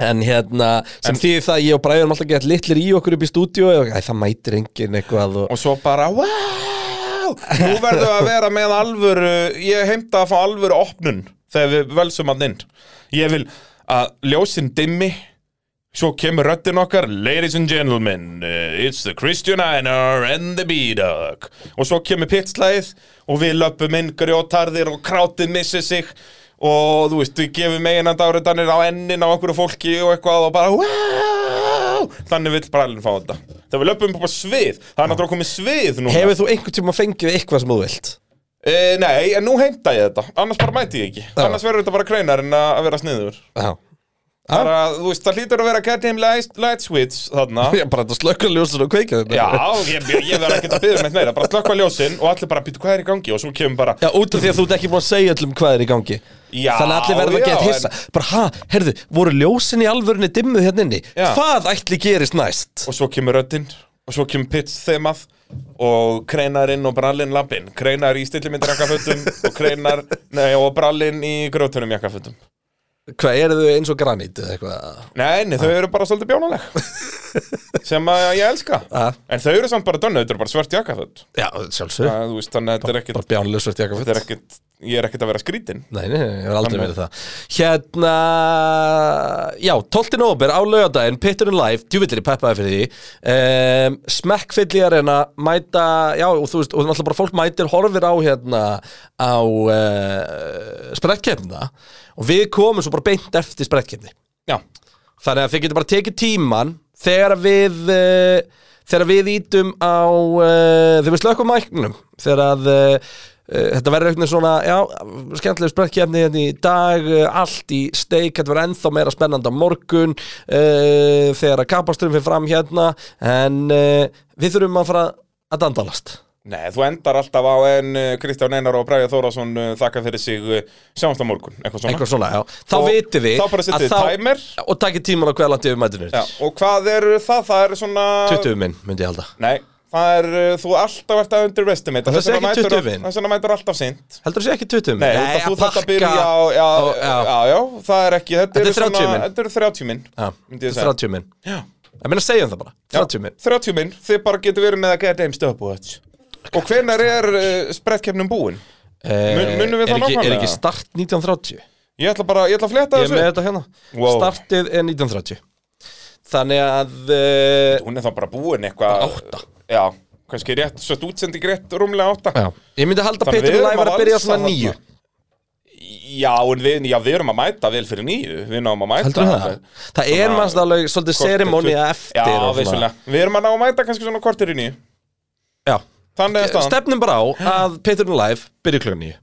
En hérna, sem því það að ég og Bræður alltaf gett litlir í okkur upp í stúdíu og, Æ, það mætir enginn eitthvað og, Og svo bara, wow Nú verður að vera með alvöru Ég heimta að fá alvöru opnun Þegar við völsum hann inn Ég vil að ljósin dimmi Svo kemur röddin okkar Ladies and gentlemen uh, It's the Christian Einar and the B-Dog Og svo kemur pitslæðið Og við löpum inn grjótarðir Og krátið missir sig Og þú veist, við gefum eiginand áriðanir á ennin á okkur fólki og eitthvað og bara wow! Þannig vill brælinn fá þetta Þegar við löpum upp á svið Það er náttúrulega komið svið núna Hefur þú einhvern tíma fengið eitthvað sem þú vilt? e, Nei, en nú heimta ég þetta Annars bara mæti ég ekki Annars verður þetta bara kreinar en að að vera sniður Já, bara, þú veist, það hlýtur að vera goddamn light, light switch þarna Ég bara þetta slökkur ljósin og kveikja þetta Já, ég, ég verð ekkert að byggja meitt meira bara slökkva ljósin og allir bara, býttu hvað er í gangi og svo kemur bara, Já, út af því að þú ert ekki búin að segja öllum hvað er í gangi Já, Þannig að allir verða að já, geta hissa Bara, ha, herðu, voru ljósin í alvörunni dimmuð hérna inni Já. Hvað ætli gerist næst? og svo kemur röddinn og svo kemur pits þemað og kreinarinn og brallinn lappinn kreinar í stillimyndir jakkafötum og kreinar, nei, og brallinn í grjótunum jakkafötum Hvað, eru þau eins og granít eða eitthvað? Nei, nei, þau Ah. eru bara svolítið bjánaleg sem að ég elska Ah. en þau eru samt bara dönnu, þau eru bara svört jakkaföt Já, sjálfsög Að, þú veist, þannig að þetta er ekkert, Bara bjánlega svört jakka þetta er ekkert ég er ekkert að vera skrítin Nei, nei, ég hef aldrei verið það Hérna, já, 12. november á laugardaginn, Pitturinn Live, djúvillir í peppaði fyrir því um, Smekkfill í arena, mæta, já, og þú veist, og náttúrulega bara fólk mætir horfir á hérna á uh, sprettkefna og við komum svo bara beint eftir sprettkefni Já, Þannig að þið getur bara tekið tíman þegar við uh, þegar við ítum á uh, þegar við slökkum mæknum þegar að uh, uh, þetta verður eitthvað svona já, skemmtileg sprekkjefni hérna í dag uh, allt í steik, þetta verður ennþá meira spennandi á morgun uh, þegar að kapasturum fyrir fram hérna en uh, við þurfum að fara að dandalast nei, þú endar alltaf á en uh, Kristján Einar og Bræði Þórásson uh, þakka fyrir sig uh, sjáumst á morgun, eitthvað svona eitthvað svona, já, þá Og vitum við þá bara setjum að við timer. og takið tíman á hverja landið við mætunir Já, og hvað er það? Það er svona 20 minn, myndi ég halda Nei, það er, uh, þú alltaf ert að underestimate Það Þess sé vegna ekki mætur 20 vin. all- þess vegna mætur alltaf sint Heldur þú sé ekki 20 minn? Nei, Nei þú þarft að byrja á, já, já, já, það er ekki Þetta, Þetta eru er 30 svona- minn. Þetta eru 30 minn Já, myndi ég segja. 30 minn Ég meina segjum það bara, 30 minn 30 minn, þið bara getur verið með að geta einn stöðbúið Og hvenær er uh, sprettkefnum búin? Mun- munum Eh, er ekki, við það er nákvæmlega? ekki start 1930? Ég ætla bara, ég ætla að fletta Ég er með þessu þetta hérna Wow. Startið er 1930 Þannig að eh, Hún er þá bara búin eitthvað Bara átta. Já, kannski rétt, svo þetta útsendi greitt rúmlega átta já, Ég myndi halda Þannig Petur við erum Lævar að að byrja valsa svona þarna. nýju Já, en við, já, við erum að mæta vel fyrir nýju Við náum að mæta Heldur þú það? Það er maður alveg svolítið Korter, serimóni tut- eftir Já, og svona. vissulega Við erum að ná að mæta kannski svona kortir í nýju Já, Þannig er staðan stefnum bara á að Peturinn Live byrja klukkan nýju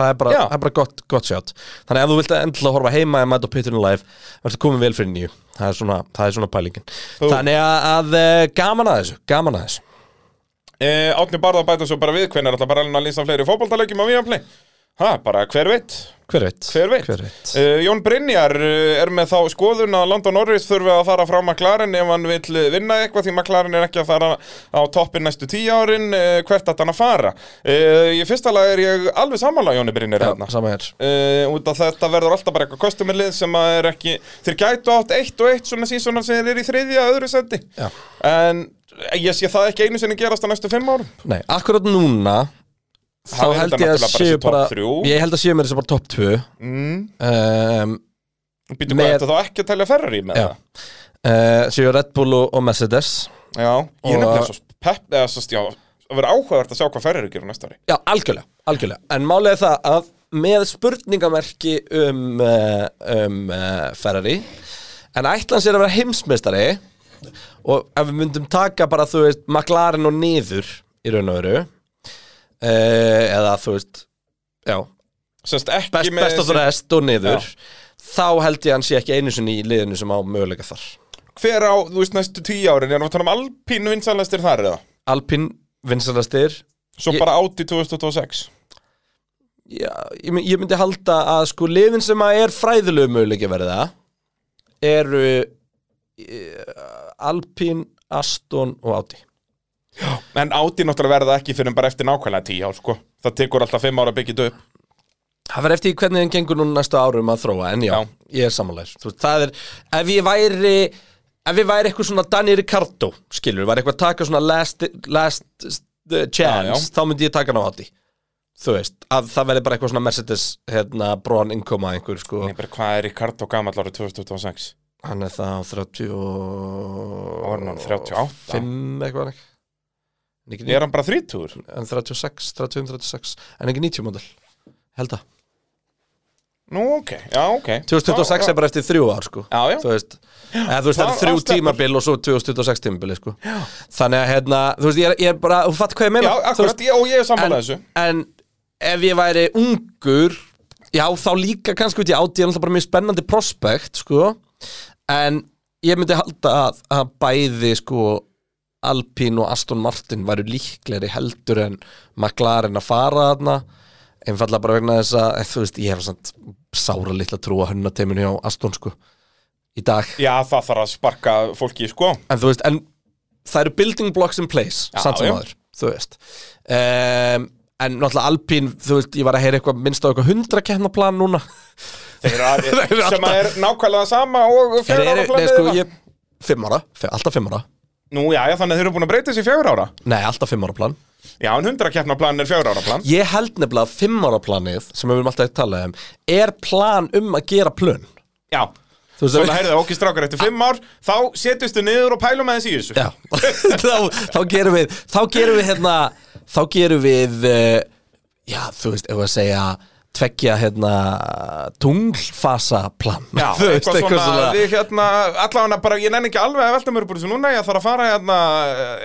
það er bara, Já. það er bara gott, gott sjátt þannig að ef þú vilt endilega horfa heima eða mæta á Peturinn Live verður komin vel fyrir nýju það er svona, það er svona pælingin þannig að, að eh, gaman að þessu gaman að þessu eh, Átni Barða bæta svo bara við Hvernig er alltaf bara að lýsa fleiri fótboltalegjum á Víaplay Ha, bara hver veit hver veit, Hver veit, hver veit. Eh, Jón Brynjar eh, er með þá skoðun að London Norris þurfi að fara frá McLaren ef hann vil vinna eitthvað því McLaren er ekki að fara á toppin næstu tíu árin eh, hvert að hann að fara Eh, Í fyrsta lag er ég alveg sammála Jóni Brynjar Já, hérna. sama hér uh, út af þetta verður alltaf bara eitthvað kostumirlið sem að er ekki, þeir gætu átt eitt og eitt svona sísonar sem þeir eru í þriðja öðru sendi Já. en ég sé það ekki einu sinni gerast á næstu fimm árum Nei, akkurat núna þá Það er held þetta ég að náttúrulega séu bara þessi bara topp þrjú. ég held að séu mér þessi bara topp 2 mm. um, býtu Með- hvað, þetta þá ekki að telja Ferrari með Já. uh, séu Red Bull og, og Mercedes það já, ég Og- er nefnilega svo pepp, eða svo stjá að vera áhugavert að sjá hvað Ferrari gerur næsta ári Já, algjörlega, algjörlega En málið er það að með spurningamerki um, eh, um uh, Ferrari En ætlan sér að vera heimsmeistari Og ef við myndum taka bara, þú veist, McLaren og niður í raun og veru uh, Eða, þú veist, já, Sest ekki best, með best of the rest og niður Já. Þá held ég að hann sé ekki einu sinni í liðinu sem á möguleika þar hver á, þú veist, næstu tíu árin erum við að tala um alpínu vinsanlæstir þar eða Alpin, vinsalastir svo Ég- bara átt í 2026 Já, ég, my- ég myndi halda að sko liðin sem að er fræðilegu möguleiki að verða eru e, Alpín, Aston og Audi en átti náttúrulega verða ekki fyrir bara eftir nákvæmlega tíu ár sko. það tekur alltaf fimm ára að byggja þetta upp Það verður eftir því hvernig þeim gengur núna næstu árum að þróa en já, Já. ég er samanlegar Þú, veist, Það er, ef ég væri ef ég væri eitthvað svona Danny Ricardo skilur, væri eitthvað að taka svona last, last uh, chance, Já, já. þá myndi ég taka hann á Audi Þú veist, að það verði bara eitthvað svona Mercedes, hérna, Braun innkoma einhver sko, Nei, bara hvað er Ricardo gamall árið 2026? hann er það á 30 og Var hann 38? 5 eitthvað ekki En ekki Er hann bara 30? 90, en 36, 35, 36 en ekki 90 módel, held að Nú, ok, já, ok 2026 Já, er bara eftir þrjú ár sko Já, já. þú veist, eða, þú veist það Það- er þrjú það stefnir. tímabil og svo 2026 tímabil sko. þannig að hérna, þú veist, ég er, ég er bara þú fatt hvað ég Já, meina þú akkurat, já, og ég er sammálað þessu en, en ef ég væri ungur já, þá líka kannski út í átti er alltaf bara mjög spennandi prospekt sko en ég myndi halda að, að bæði sko Alpine og Aston Martin væru líklegri heldur en McLaren að fara þarna einfalla bara vegna þess að þú veist, ég hef samt sára litla trú að hönnateiminu hjá Aston sko í dag, Já, það þarf að sparka fólki, sko en þú veist en það eru building blocks in place Já, samt sem já. aður, þú veist um, en náttúrulega Alpine þú veist, ég var að heyra eitthvað minnst á eitthvað hundra keppnaplan núna Þeir eru Þeir eru að- sem alltaf- er nákvæmlega sama og Þeir fjögur ára eru, nei, planið sko, þeirra. ég, fimm ára, fe- alltaf fimm ára Nú, já, já, þannig að þeir eru búin að breyta þessi fjögur ára Nei, alltaf fimm ára plan Já, en hundra keppna plan er fjögur ára plan Ég held nefnilega að fimm ára planið sem við erum alltaf að tala um er plan um að gera plön Já, Þú veist, svona að- heyrðu, okki strákar eftir fimm ár Þá setjustu niður og pælum aðeins í þessu Já, þá, þá gerum við þá gerum við hérna þá gerum við eh, já, þú veist, ef við að segja tveggja hérna tunglfasa plan Já, Þú eitthvað, svona, við hérna, allavega bara, ég nenni ekki alveg að velta mér upp úr þessu núna, ég þarf að fara hérna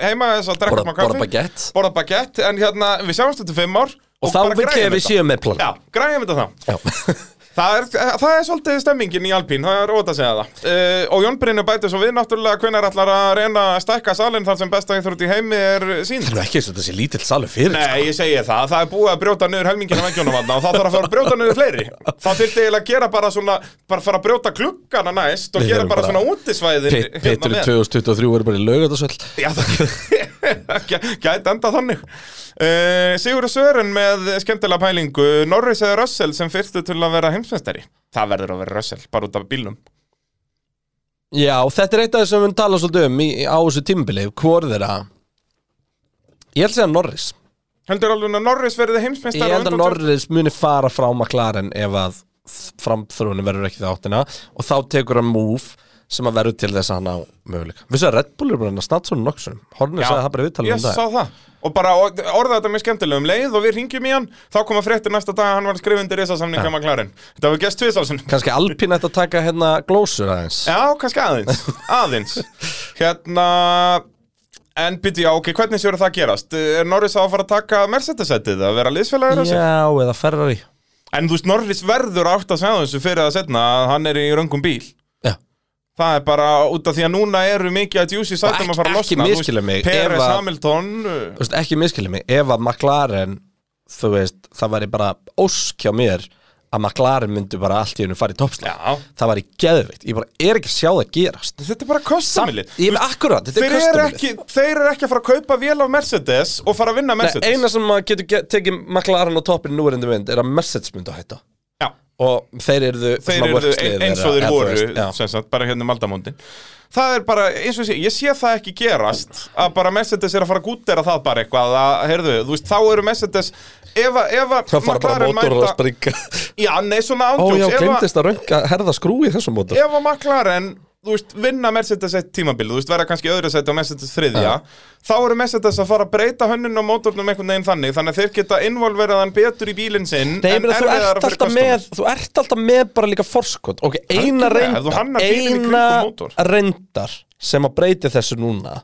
heima þess að drekka Borða- smá kaffi. borða baguette. Borða baguette, en hérna, við sjáumst þetta fimm ár. og þá bara vil græjum ég við þetta. séum með plan Já, græjum þetta þá. Já. Það er, það er svolítið stemmingin í Alpín, það er óta að segja það. Uh, og Jón Brynju bætið svo við náttúrulega hvenar ætlar að reyna að stækka salin þar sem besta einþrótt í heimi er sínd. Það er nú ekki eins og þessi lítill salur fyrir sko. Nei, ég segi það, það er búið að brjóta niður helmingina veggjónum þarna og það þarf að fara að brjóta niður fleiri Það þurfti eiginlega að gera bara svona, bara fara að brjóta klukkana næst og Við gera erum bara, bara- svona útisvæðin hérna Pit- Pitturinn 2023 verður bara í laugatasöll Já, það gæ- gæti enda þannig uh, Sigur Sören með skemmtilega pælingu Norris eða Russell sem fyrstu til að vera heimsmeistari Það verður að vera Russell, bara út af bílnum Já, þetta er eitt af þessum við tala svolítið um í, á þessu tímbili, hvor þeirra Ég held að segja Norris Heldur alveg að Norris verði heimsmeistari Ég á held að undan- Norris muni fara frá McLaren ef að framþróunum verður ekki í þá áttina og þá tekur hann move sem að verður til þess að hann á möguleika Vissu að Red Bull er bara hérna hann að snatt svona nokksum Hornir Já. sagði það bara í viðtalið Ég um dag sá það Og bara orð- orða þetta með skemmtilegum leið og við ringjum í hann Þá koma fréttir næsta dag að hann var skrifundir í þess að samninga maður klarinn Þetta var gæst tviðsálsinn Kannski Alpine ætti að taka hérna glósur aðeins Já, kannski aðeins Aðeins Hérna En byrju, já, ok, hvernig séu það að gerast? Er Norris á að fara að taka Mercedes-sætið að vera liðsfélagur þessu? Já, eða Ferrari En þú veist, Norris verður átt að segja þessu fyrir að setna að hann er í röngum bíl Já, Það er bara út af því að núna eru mikið að djúsi sætum að fara að Ekki- ekki losna Þú veist, misskilja mig, Peres, ef að- Hamilton uh, þú veist, ekki miskilið mig ef að McLaren, þú veist það væri bara ósk hjá mér að McLaren myndi bara allt í hennu fara í toppslag Já. það væri geðveikt, ég bara er ekki að sjá það gerast Þetta er bara kostamilið ég er akkurat, þetta þeir er eru kostumilið ekki, þeir eru ekki að fara að kaupa vél af Mercedes og fara að vinna Mercedes eina sem maður getur get, tekið McLaren á toppin núverandi mynd er að Mercedes myndi að hætta Já, og þeir eru þeir eru ein, eins og þeir voru sem sagt, bara hérna um aldamóndin það er bara, eins og sé, ég sé það ekki gerast að bara Mercedes er að fara að gútera það bara eitthvað, að, heyrðu, þú veist, þá eru Mercedes ef að, ef að það fara bara mótor að springa já, nei, ó svona já, ándjóks, ef að, glemdist að rönga herða skrúi í þessum mótor ef að McLaren þú veist, vinna Mercedes eitt tímabil þú veist, vera kannski í öðru seti og Mercedes þriðja þá eru Mercedes að fara að breyta hönnun og mótornum einhvern veginn þannig, þannig að þeir geta involverað hann betur í bílinn sinn Nei, ég en meina, þú erfiðara ert fyrir alltaf customer. með þú ert alltaf með bara líka forskot ok, eina Algjörlega, ef þú reynda hannar bílinn í kringum mótor. eina reyndar sem að breyti þessu núna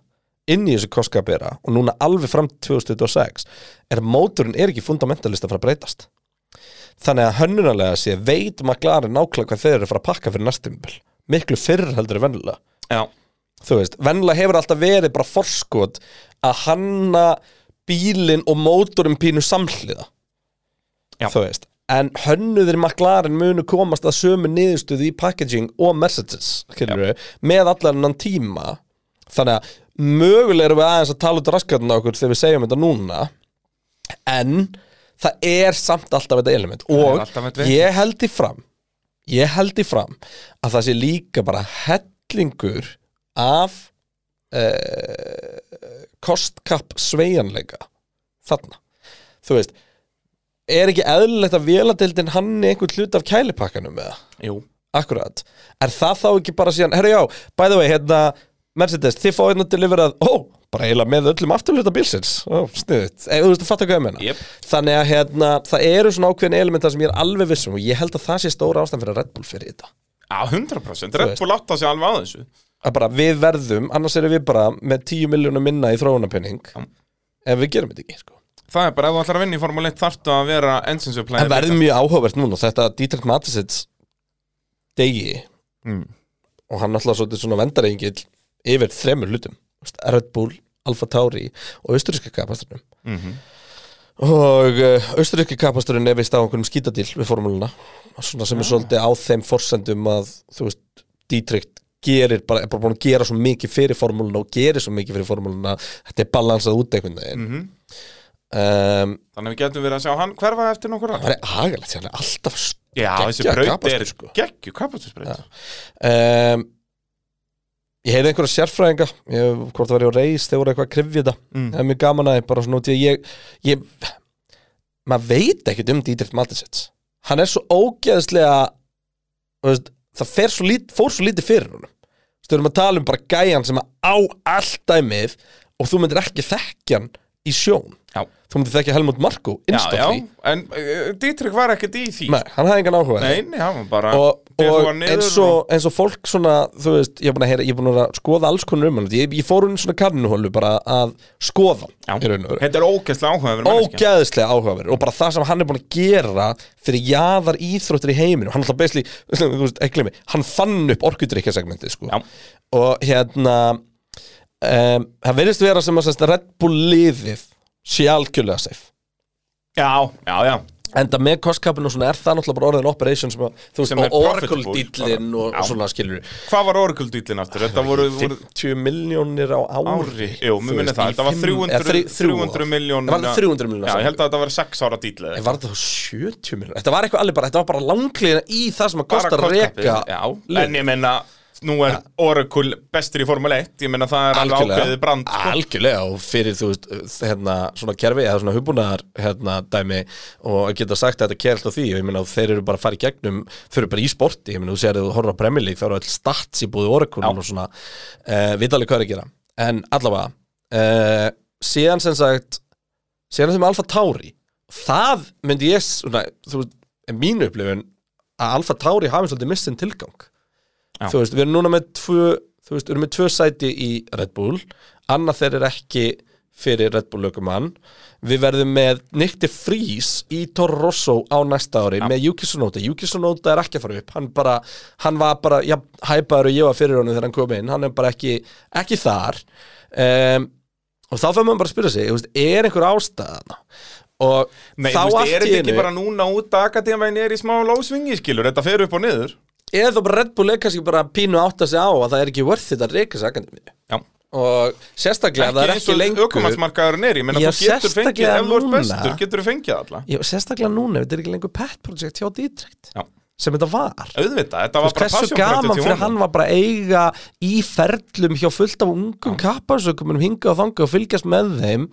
inn í þessu koskapera og núna alveg fram til 2026 er að móturinn er ekki fundamentalist að fara að breytast þannig að hönnunarlega sé veit maklari nákvæmlega hvað þeir eru að fara að pakka fyrir næstumbil miklu fyrr heldur en vennilega Já. þú veist, vennilega hefur alltaf verið bara forskot að hanna bílinn og mótorum pínu samhliða Já. þú veist en hönnuðir McLaren munu komast að sömu niðurstöðu í packaging og Mercedes skilurðu, með allan annan tíma þannig að mögulega erum við aðeins að tala út raskatina okkur þegar við segjum þetta núna en það er samt alltaf þetta element er og alltaf þetta ég held í fram ég held í fram að það sé líka bara hellingur af uh, kostkapp sveigjanleika þarna þú veist, er ekki eðlilegt að véladeildin hann einhvern hlut af kælipakkanum með það? Jú. Akkurat, er það þá ekki bara síðan, herru já, by the way, hérna Mercedes, þið fáið hérna deliverað, ó, bara eiginlega með öllum afturluta bílsins ó, sniðut, eða þú veist að fatta hvað ég menna Jep. þannig að hérna, það eru svona ákveðin elementa sem ég er alveg vissum og ég held að það sé stóra ástæðan fyrir að Red Bull fyrir þetta Já, 100% Þú Red veist. Bull átta sig alveg á þessu að bara við verðum, annars erum við bara með 10 miljónum minna í þróunarpenning Já. en við gerum þetta ekki sko. Það er bara, ef þú ætlar að vinna í Formule 1 þarftu að vera engine supply en verðum mjög áhugavert núna þetta Dietrich Matisits degi Mm. og hann alltaf svolítið svona vendarengill yfir þremur hlutum Þú veist, Red Bull, Alfa Tauri og austuríska kapasturinn Mhm, og austuríski kapasturinn er vist á einhverjum skítadíl við formúluna svona sem er svolítið á þeim forsendum að þú veist, Dietrich gerir bara, er bara búin að gera svo mikið fyrir formúluna og gerir svo mikið fyrir formúluna þetta er balansað út einhvern Mm. veginn um, mhm. Þannig að við getum verið að sjá hann hverfa eftir nokkur ár það er agalegt, hann er alltaf Já, þessi geggjaður braut kapastur, er sko. geggju kapastusbraut um, Ég heyrði einhverja sérfræðinga ég, hvort það var ég á reis, þeir voru eitthvað að krifja þetta Mm. það er mjög gaman að ég bara svona út í að ég, ég maður veit ekkert um Dietrich Maldisets hann er svo ógeðslega þú veist, það fer svo lít, fór svo lítið fyrir honum Þú veist, við erum að tala um bara gæjan sem á allt dæmið og þú myndir ekki þekkja hann í sjón Já. þú myndir þekkja Helmut Marko Já, já, instantly en uh, Dietrich var ekkert í því Nei, hann hafði engan áhuga á því. Nei, nei, hann var bara og, Þegar þú og var niður eins, og, eins og fólk svona, þú veist, ég er búin að, heyra, ég er búin að skoða alls konar um hann, ég, ég fór hún svona kannuhólu bara að skoða Já. hann í raun og veru. Þetta er ógeðslega áhugaður manneskja. ógeðslega áhugaverð og bara það sem hann er búin að gera fyrir jaðar íþróttir í heiminu hann alltaf beisli, þú veist, ekki glemmi hann fann upp orkudrykkjasegmentið sko. Já. og hérna um, það verðist vera sem að sérst, Red Bull liðið sé algjörlega safe Já, já, já Enda með kostkapinu og svona er það náttúrulega bara orðin operation sem, að, þú veist, Sem er og Oracle profitable. dýllin og, Já. og svona skilur Hvað var orkuldýtlinn aftur? Þetta voru, voru 50 miljónir á ári ári Jú, mér minni það, þetta var 300, 300 miljón Það var það 300 miljón Já, ég held að þetta var 6 ára dýtl En var það þá 70 miljón? Þetta var eitthvað alveg bara, þetta var bara langliðina í það sem að kosta að reka Já, en ég meina Nú er Oracle bestur í Formule 1 Ég meina það er alveg ákveðið brand sko. algjörlega og fyrir þú veist hérna, svona kerfi eða svona hugbúnaðar hérna, dæmi og að geta sagt að þetta kerlt á því og ég meina þeir eru bara að fara í gegnum þau eru bara í sporti, ég meina þú sér að þú horfður á Premier League þá eru all stats í búið orkunum og svona uh, vitalið hvað er að gera en allavega uh, síðan sem sagt síðan þeim Alfa Tauri það myndi ég, svona, þú veist er mínu upplifun að Alfa Tauri hafi svolítið missin tilgang Já. þú veist, við erum núna með tvö þú veist, við erum með tvö sæti í Red Bull annað þeir er ekki fyrir Red Bull lögumann við verðum með Nick de Vries í Toro Rosso á næsta ári með Yuki Tsunoda, Yuki Tsunoda er ekki að fara upp hann bara, hann var bara ja, hæpaður og ég var fyrir honum þegar hann kom inn hann er bara ekki, ekki þar um, og þá fyrir maður bara að spyrja sig þú veist, er einhver ástæðan og Nei, þá þú veist, er allt í þetta ekki einu- bara núna út að akademæn er í smá lósvingi, skilur Þetta fer upp og niður eða þá bara Red Bull er kannski bara pínu að átta sig á að það er ekki worth it að reyka sig akademi Já og sérstaklega ef það er ekki lengur Ökumannsmarkaðurinn er, ég meina Já, þú getur fengið sérstaklega Ef þú ert núna. bestur, getur þú fengið það alla Já, sérstaklega núna, ef þetta er ekki lengur pet project hjá Dietrich Já, sem þetta var auðvitað, þetta Þú var veist, bara hversu passion project gaman hjá fyrir honum. hann var bara að eiga í ferlum hjá fullt af ungum kappasökumunum hingað og þangað og fylgjast með þeim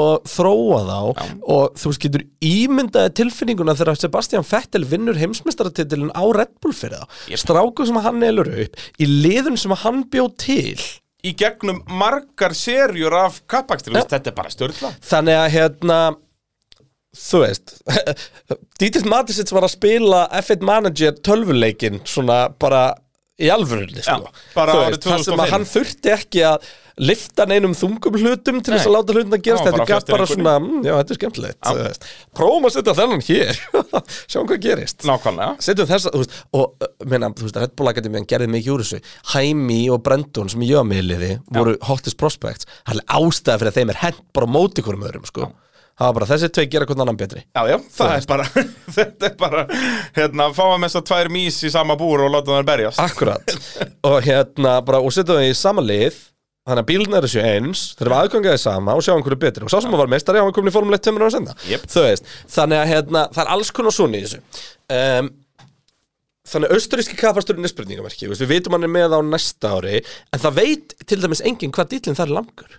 og þróa þá og þú veist getur ímyndaði tilfinninguna þegar Sebastian Vettel vinnur heimsmeistaratitilin á Red Bull fyrir þá yep. stráku sem hann elur upp í liðun sem hann bjó til Í gegnum margar serjur af kappakstur, þetta er bara störtla Þannig að hérna Þú veist Dietrich Matisits var að spila F1 Manager tölvuleikin Svona bara í alvörunni sko. Já, bara Þú árið Það sem 2005. að hann þurfti ekki að lifta neinum þungum hlutum Til þess Nei. að láta hlutin að gerast Hann Þetta var bara gaf fastur í bara einhverju. svona mm, Já, þetta er skemmtilegt þú veist. Prófum að setja þennan hér Sjáum hvað gerist Nákvæmlega Setjum þess að, þú veist, og uh, meina, þú veist, Red Bull Academy hann gerði mikið úr þessu Hæmi og Brendon sem ég var með í liði voru hottest prospects, hann er ástæða fyrir að þeim er hent bara á móti hverjum öðrum, sko það var bara þessi tvei gera hvernig annan betri Já, já, það er bara, þetta er bara, hérna, fá að mesta tvær mís í sama búr og láta það berjast. Ah, Akkurat, og hérna bara, og setjum þau í sama lið þannig að bílun er þessu eins, þeir eru aðgangaði sama og sjáum hverju betri, og sá sem að var meistari hann var komin í Formule 1 tömur ára senda, Jep. þú veist þannig að hérna, það er alls konar svona í þessu um, Þannig að austuríski kapasturinn er spurningamarki Við veitum hann er með á næsta ári En það veit til dæmis enginn hvað dýllinn þar er langur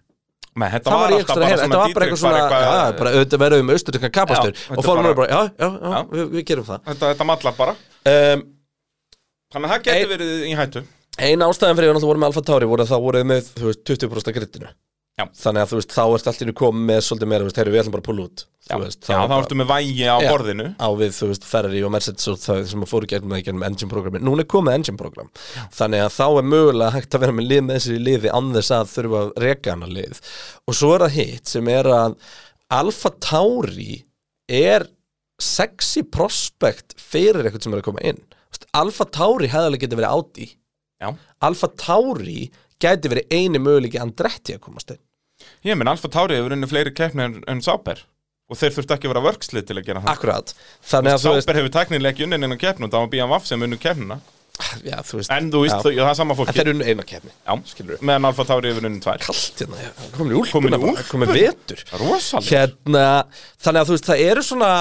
Men, þetta Það var ég alltaf ekstra að heyra, þetta var bara Dietrich, eitthvað svona Já, eitthvað- bara auðvitað verðum um austurískan kapastur Já, þetta Og fórum bara- bara, bara, já, já, já, Já. Við, við gerum það Þetta, þetta mallar bara. um, Þannig að það getur Ein- verið í hættu. Einn ástæðan fyrir að við vorum með Alfa Tauri voru að það voruð með þú veist, 20% af grittinu Já. Þannig að þú veist, þá ert allt í nú komið með svolítið meira, þú veist, heyrðu, við ætlum bara að púla út Já, Þú veist, já var þá bara- ertu með vægi á Já. borðinu. á við, þú veist, Ferrari og Mercedes og það sem að fóru gegnum það í gegnum engine-programmi núna er komið engine-program þannig að þá er mögulega hægt að vera með lið með þessi liði án þess að þurfa að reka hana lið og svo er það hitt sem er að Alfa Tauri er sexy prospect fyrir eitthvað sem er að koma inn Þú veist, Alfa Tauri hefðalega getið verið átt í Já. Alfa Tauri gæti verið eini möguleiki Andretti að komast inn Ég menn Alfa Tauri hefur unni fleiri keppni en, en Sáber og þeir þurftu ekki að vera vörkslið til að gera það Akkurat, þannig að Ah, þú veist Sáber hefur teknilega ekki unni en keppnum það var Bíjan Vaff sem unnu keppnuna Já, þú veist, en þú veist, Já. þau- það er sama en fólki þeir eru nú eina kefni Já, skilur meðan Alfa Tauri hefur unni tvær Allt hérna, já, komin í Komin úlpuna í bara, úlpuna. komin vetur Rosalega Hérna, þannig að þú veist, það eru svona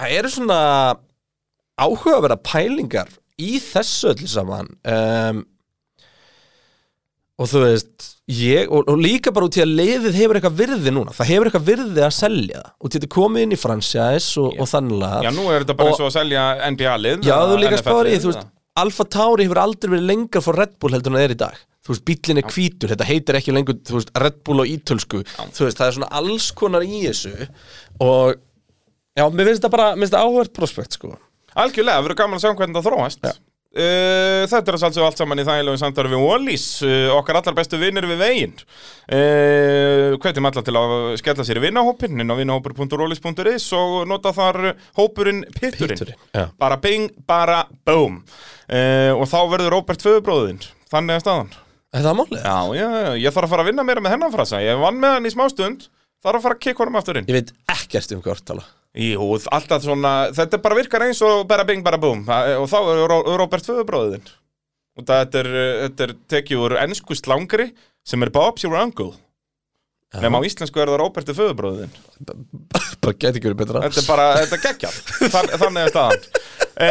það eru svona áhugaverða pælingar í þessu öllu saman um, og þú veist ég, og, og líka bara út í að leiðið hefur eitthvað virði núna, það hefur eitthvað virði að selja það. og þetta er komið inn í fransjæðis og, og þannig að Já, nú er þetta bara Hérna. Og- eins og að selja NBA-lið Já, þú líka spáður í, þú veist Alfa Tauri hefur aldrei verið lengra fór Red Bull heldur en það er í dag Þú veist, bíllinn er hvítur, þetta heitir ekki lengur þú veist, Red Bull og ítölsku Þú veist, það er svona alls konar í þessu Og, já, mér finnst þetta bara Mér finnst þetta áhvert prospekt, sko Algjörlega, verður gaman að sjá hvernig það þróast uh, Þetta er að sjálfsög allt saman í þægilegum samtari við Wallís uh, Okkar allar bestu vinnir við veginn uh, Hvetjum allar til að skella sér í vinnahópinn inn á vinnahópur.rollis.is og nota þar hópurinn pitturinn Pitturinn, já. Bara bing, bara boom uh, Og þá verður Róbert föðubróðinn Þannig að staðan Er það málið? Já, já, já, ég þarf að fara að vinna meira með hennan frasa Ég vann með hann í smástund Þarf að fara að kikka honum aftur inn Ég veit ekkert um hvað orðtala Jú, alltaf svona, þetta bara virkar eins og bara bing, bara búm Það- og þá er Ró- Róbert Föðubróðin og það, þetta, er, uh, þetta er tekið úr ennsku slangri sem er Bob's your uncle nema á íslensku er það Róberti Föðubróðin Bara geti ekki verið betra Þetta er bara, þetta er geggjað Þann, Þannig er staðan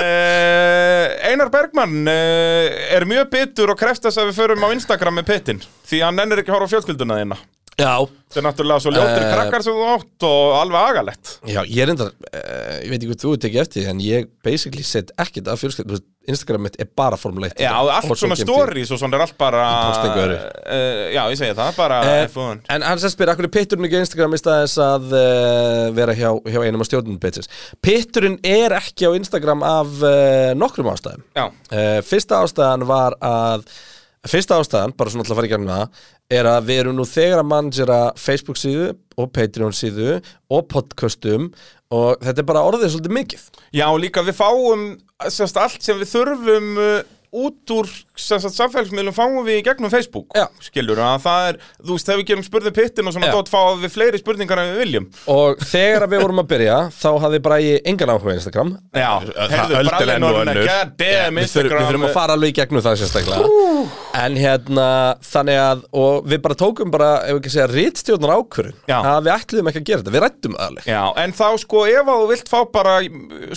uh, Einar Bergmann uh, er mjög bitur og kreftast að við förum á Instagram með pittin því hann ennir ekki að horfa á fjölskylduna þína Já, Þetta er náttúrulega svo ljótir Eh. krakkar sem þú átt og alveg agalett Já, ég er endar, uh, ég veit ekki hvað þú ert ekki eftir því, en ég basically set ekkert af fjölskyld, þú veist, Instagram mitt er bara formuleitt Já, allt svona stories og svona er allt bara tókst engu öðru. uh, Já, ég segi það, bara Eh, F1 En hann sem spyr, akkur er pitturinn ekki á Instagram í staðis að uh, vera hjá, hjá einum af stjórnum bitches Pitturinn er ekki á Instagram af uh, nokkrum ástæðum Já, uh, Fyrsta ástæðan var að Fyrsta ástæðan, bara svona alltaf að fara í gegnum það er að við erum nú þegar að managera Facebook síðu og Patreon síðu og podcastum og þetta er bara orðið svolítið mikið já og líka við fáum sérst, allt sem við þurfum uh, út úr sérst, samfélagsmiðlum fáum við í gegnum Facebook Já. skilur að það er, þú veist, þegar við gerum spurði pittin og svona Já. dót fáum við fleiri spurningar en við viljum Og þegar að við vorum að byrja þá hafði bara ég engan áhuga á Instagram Já, það öldin heyrðu, enn brallin og orðin önnur. God damn, við þurfum, Instagram við þurfum að fara alveg í gegnum það sérstaklega En hérna, þannig að Og við bara tókum bara, ef við ekki segja Ritstjórnar ákvörun, Já. að við ætluðum ekki að gera þetta Við rættum það alveg Já, en þá sko ef að þú vilt fá bara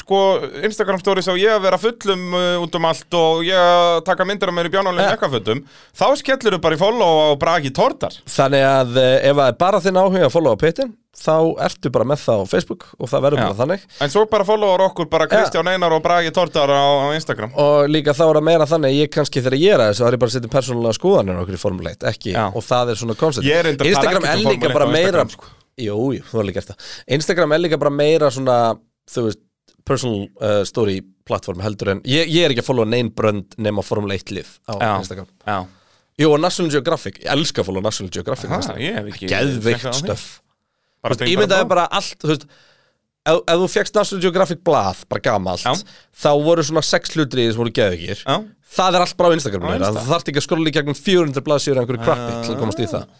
sko Instagram stories á ég að vera fullum uh, út um allt og ég að taka myndir af mér í bjánálinu Ja. ekkafötum þá skellur þú bara í follow á Bragi Tordar Þannig að eh, ef það er bara þinn áhuga að followa Pétin Þá ertu bara með það á Facebook Og það verður Já. bara þannig en svo bara followar okkur bara Kristján Einar og Bragi Tordar á, á Instagram Og líka þá er það meira þannig að ég kannski þegar ég er að þessu þá er ég bara að setja persónulega skoðanir okkur í formuleit ekki, Já. og það er svona koncept Ég er reyndar- það er Instagram ekkert er um líka formuleit bara á meira Instagram, sko. Jú, jú, þú er líka eftir það Instagram er líka bara meira svona þú veist, personal uh, story plattform heldur en, ég, ég er ekki að followa neyn brönd nema formuleit lið á Já. Instagram Já, Jú, og National Geographic, ég elska að followa National Geographic á Ha, Instagram. ég hef ekki Geðveikt checkað á því. stöf bara Ég myndi að bara allt, þú veist Ef, ef þú fjekkst National Geographic blað, bara gamalt Já. þá voru svona sex hlutri sem voru geðugir Já. það er allt bara á Instagram Á núna, Insta. Ah, það þarf ekki að skrolla í gegnum 400 blaðsýður einhverju krappi til að komast í það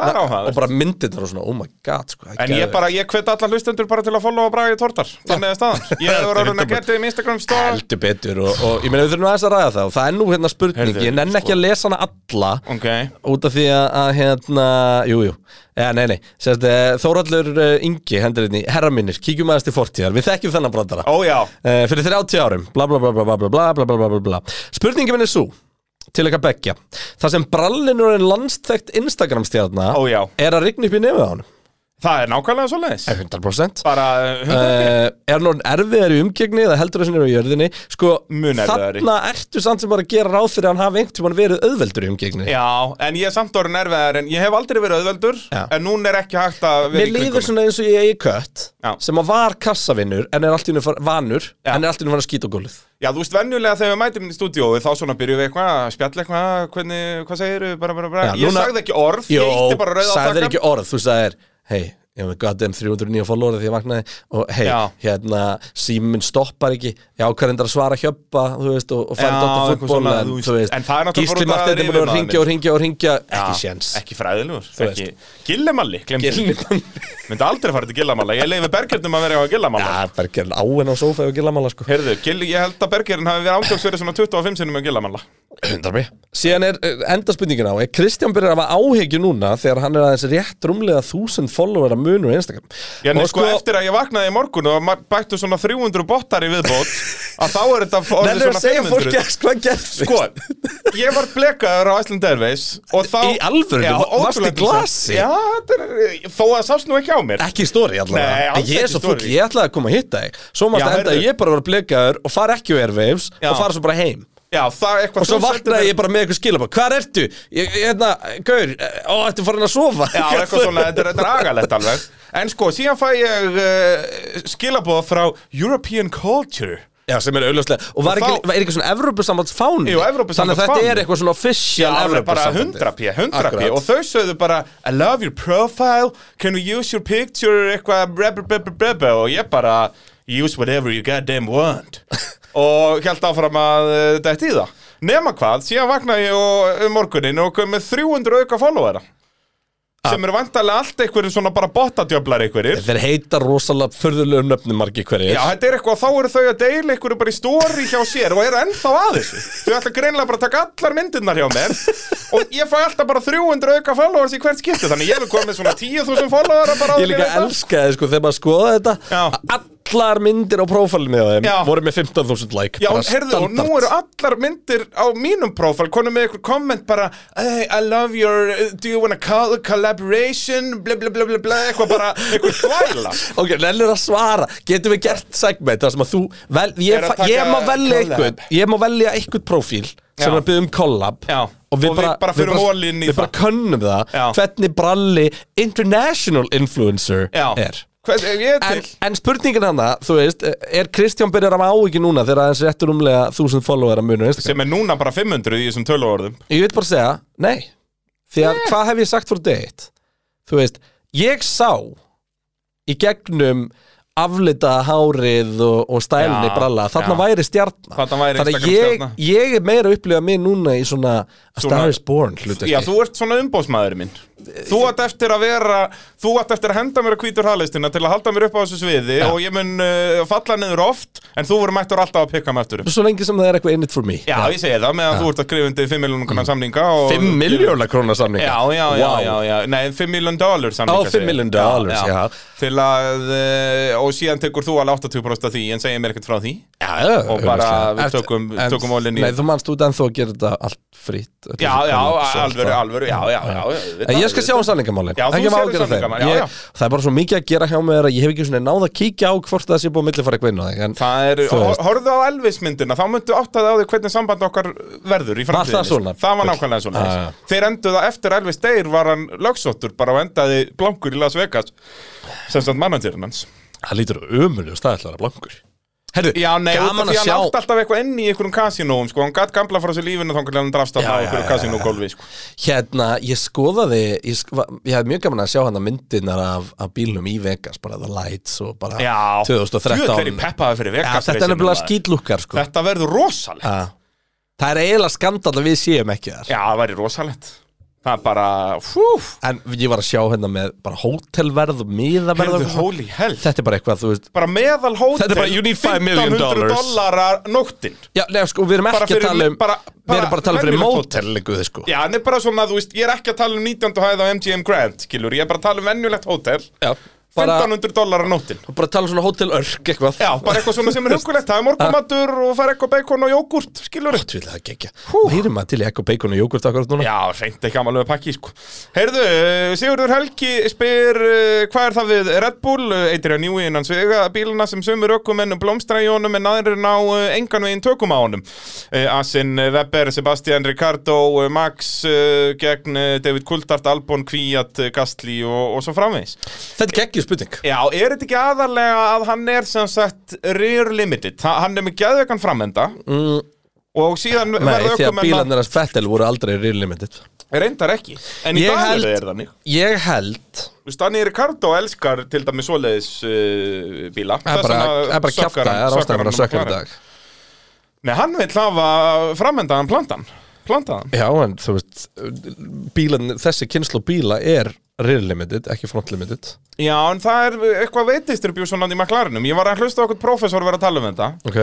Það er áhagast og bara myndir þar og svona, oh my god sko, það er En ég geðveikt. bara, ég hvet allar hlustendur bara til að followa Bragi Tordar Þannig að staðan Ég hefur orðin að Þetta er geta um Instagram story heldur betur og, og ég meina við þurfum aðeins að ræða það og það er nú hérna spurning, Heyrðu, sko. ég nenn ekki að lesa hana alla Ok út af því að, að hérna, jú, jú, eða nei, nei Sérst, eh, Þórallur eh, Ingi hendur hérna í herra minnir, kíkjum aðeins til fortíðar við þekkjum þennan brandara Ó já Eh, fyrir 30 árum bla bla bla bla bla bla bla bla bla bla bla bla spurningin minn er svo til eitthvað beggja það sem brallinur en landstækt Instagram stjarnar Ó, já. Eh, er að rigna upp í nefið á hann Það er nákvæmlega svo leiðis 100% Bara Uh, 100 er hann orðinn erfiðar í umgegni eða heldur þessum er á jörðinni sko, Mun erfiðari. þarna ertu samt sem bara að gera ráð fyrir að hann hafi einhvern tímann verið auðveldur í umgegni Já, en ég er samt orðin erfiðar en ég hef aldrei verið auðveldur Já. en núna er ekki hægt að vera Mér líður svona eins og ég eigi kött Já. sem að var kassavinnur en er allt í hennu vanur Já. en er allt í hennu fann að skýta á gólið Já, þú veist, venjulega þegar við mætum í stúdíói þá svona byrjum við eitthvað, spjall eitthvað hvernig, hvað segir við, bara, bara, bara Já, Ég núna- sagði ekki orð, Jó, ég ítti bara rauða sagði þér ekki orð, þú sagðir Hei, ég með goddamn 309 followeri því ég vaknaði og hei, Já. hérna, síminn stoppar ekki já, hver endur að svara hjöppa þú veist, og, og fara Já, dottar eitthvað fútból svona, en, þú veist. þú veist, En það er náttúrulega bara Gísli út af Martin er búin að yfirmaðurinn. ringja og ringja og ringja ekki Já, séns Ekki fræðilegur Þú ekki. Gillemalli, glemdi Gilli Mann. Myndi aldrei fara til Gillamalla Ég leiði Bergernum að vera á Gillamalla Já, Bergerinn áinn á sófa og gillamála sko Heyrðu, Gill, ég held að Bergerin hafi verið ángjóks verið svona 25 sinnum á Gillamalla Síðan er eh, enda spurningin á Er Kristján byrjar að hafa áhyggju núna Þegar hann er aðeins rétt rúmlega þúsund follower að munur í Instagram Já, nei, Og sko, eftir að ég vaknaði í morgun og ma- bættu svona 300 bottar í viðbót að þá er þetta orðið Nennir að svona segja 500 fólki að hvað gerðist Sko, ég var blekaður á Iceland Airways og þá... Í alvörunni? Já, Va- varstu í ótrúlega glasi? interessant. Já, þetta er, þó að það sást nú ekki á mér. Ekki í stóri allavega Nei, alls Ég er ekki svo story. fúll, ég ætlaði að koma að hitta þig Svo mást Já, að enda að heyrðu. ég bara var blekaður Og fara ekki á Airwaves Já. og fara svo bara heim Já, það er eitthvað... Og svo þú sendir mér- vaknaði ég bara með eitthvað skilabók Hvar ertu? Ég, ég hérna, gaur, eh, ó, ertu farin að sofa? Já, eitthvað svona, þetta er, þetta er agalegt alveg. En sko, síðan fæ ég uh, skilabóð frá European Culture. Já, sem er auðvitáslega Og var Og ekki, þá- var ekki svona Evrópusambands fáni? Jú, Evrópusambands Þannig að þetta fáni. er eitthvað svona official alveg bara Evrópusambandið. 100 p, 100 p Akkurat. og þau sögðu bara I love your profile, can we use your picture eitthvað breb, breb, breb, breb og ég bara use whatever you goddamn want og held áfram að uh, þetta í það nema hvað, síðan vaknaði ég og, um morgunin og kom með 300 auka followera Ah. sem eru vantarlega allt einhverjir svona bara botadjöflar einhverjir Þeir heita rosalega förðulegum nöfnum margir hverjir Já, þetta er eitthvað, þá eru þau að deila einhverju bara í stóri hjá sér og eru ennþá að þessu. Þau ætla greinlega bara að taka allar myndirnar hjá mér og ég fæ alltaf bara 300 auka followers í hvert skipti, þannig ég vil komið svona 10.000 followera bara á Ég líka elska þið sko þegar maður skoða þetta Já. að Allar myndir á prófælinu þeim Já. voru með 15.000 like Já, bara heyrðu, og nú standard. eru allar myndir á mínum prófál, konum með eitthvað komment bara hey, I love your, uh, do you wanna call a collaboration, bla bla bla bla bla, eitthvað bara, eitthvað þvæla. Ok, nennir að svara, getum við gert segment þar sem að þú, vel, ég, Er að fa- ég taka má velja collab. einhvern ég má velja einhvern prófíl sem Já. er að byggja um collab Já. og við Og við bara, bara förum all in í við bara það. könnum það Já. hvernig bralli international influencer Já. er Hvað, ég er En, til. en spurningin hann það, þú veist, er Kristján byrjar að má ekki núna þegar aðeins réttur umlega 1000 follower að munu á Instagram? Sem er núna bara 500 í þessum töluorðum. Ég vil bara segja, nei Því að hvað hef ég sagt frá date? Þú veist, ég sá í gegnum aflita hárið og, og stælni Já, bralla, þarna já. væri stjartna Þarna væri Þannig að Instagram ég, stjarna. ég er meira að upplifa mig núna í svona A Svona- Star is Born hlutverki Já, þú ert svona umbóðsmaður minn Þú ert eftir að vera Þú ert eftir að henda mér að hvítur halistina Til að halda mér upp á þessu sviði Og ég mun uh, falla niður oft En þú voru mættur alltaf að pikka mig aftur upp Svo lengi sem það er eitthvað in it for me Já, ég segi það Meðan þú ert að skrifa undir 5 miljónu konar samninga og... 5 miljóna krónar samninga Já, já, já, já, já Nei, 5 miljón dollar samninga Á, 5 segi ég. million dollars, já. Til að uh, Og síðan tekur þú alveg 80% af því En segir mér ekkert frá því já, já Og bara augljóslega. við Eft- tökum- en- tökum all in í- Nei, þú manst út ennþá að gera þetta allt frýtt Já, já, alvöru, alvöru Já, já, já En auðvitað, ég skal sjá um samningamálin Já, þú Ekki má sérðu ágjöra þeim. samningamál, já, Ég- já. Það er bara svo mikið að gera hjá mér að Ég hef ekki svona náð að kíkja á hvort það sé búið að millifara eitthvað inn á þig en Það er, Þú veist. hor- horfðu á Elvis-myndina, þá myndu áttaði á því hvernig samband okkar verður í Var framtíðinni. það svona? Það var nákvæmlega svona. Ah, Já, já. Þeir enduðu það eftir Elvis Deyr var hann lögsóttur bara og endaði blankur í Las Vegas, sem sagt mannandýrin hans. Það lítur ömulegust, það ætlar að blankur Herru, Já, nei, út af gaman því að hann sjá átti alltaf eitthvað inn í einhverjum kasinóum, sko, hann gatt gamla frá sér lífinu þá hann drafst að Já, það á já, einhverju já, kasinógólfi, sko. Hérna, ég skoðaði Ég, sk va- ég hef mjög gaman að sjá hann að myndirnar af, af bílnum í Vegas bara The Lights og bara Já, Djöfull er 2013 ég peppaður fyrir Já, Þetta Vegas er reisinu nefnilega maður. skýtlúkar sko. Þetta verður rosalegt. Já. Það er eiginlega skandal að við séum ekki þar Já, það væri rosalegt. Það er bara, fúf, En ég var að sjá hérna með bara hótelverð og miðaverð og heyrðu, eitthvað svona. holy hell. Þetta er bara eitthvað, þú veist bara meðal hótel Þetta er bara, you need five million dollars. dollarar nóttin Já, nei, sko, við erum Bara ekki að fyrir- tala um bara- Við erum bara að tala um fyrir venjulegt mótel lengur þið sko Já, en er bara svona, þú veist, ég er ekki að tala um 19. hæð á MGM Grand, skilur, ég er bara að tala um venjulegt hótel Já, bara, 1500 dólarar nóttin bara að tala um svona hótel örk eitthvað Já, bara eitthvað svona sem er hugulegt, það er morgumatur og fara eitthvað bacon og jógurt, skilur Þú vil það gegja Hýrum maður til í ekko bacon og jógurt akkurat núna Já, reyndi ekki amalveg pakki, sko Heyrðu, eh, Sigurður Helgi spyr eh, hvað er það við Red Bull, eh, Adrian Newey innan svega bíluna sem sömur ökumenn blómstra í honum en aðrir ná eh, engan veginn tökum á honum Eh, Asin eh, Weber, Sebastian Ricardo, eh, Max eh, gegn eh, David Coulthard, Albon, Kvíat, Gastli og, og svo framvegis Þetta geggjur spurning Já, er þetta ekki aðarlega að hann er sem sagt rear limited, Þa, hann er með geðveikan framenda mm. og síðan Nei, því að ökumenn að- bílarnir að Fettel voru aldrei real limited Reyndar ekki En í Ég dag held- er það þannig Ég held Þú veist, Danny Ricardo elskar til dæmis svoleiðis uh, bíla Það er bara, það er bara sökkar kjafta, hann- það er sökkar ástæðan hann bara um sökkar í McLaren. dag Nei, hann vill hafa framendaðan plantan Plantaðan Já, en þú veist, bílan, þessi kynslu bíla er rear limited, ekki front limited Já, en það er eitthvað veitdistribjúsonandi í McLarenum Ég var að hlusta á okkur prófessor vera að tala um þetta Ok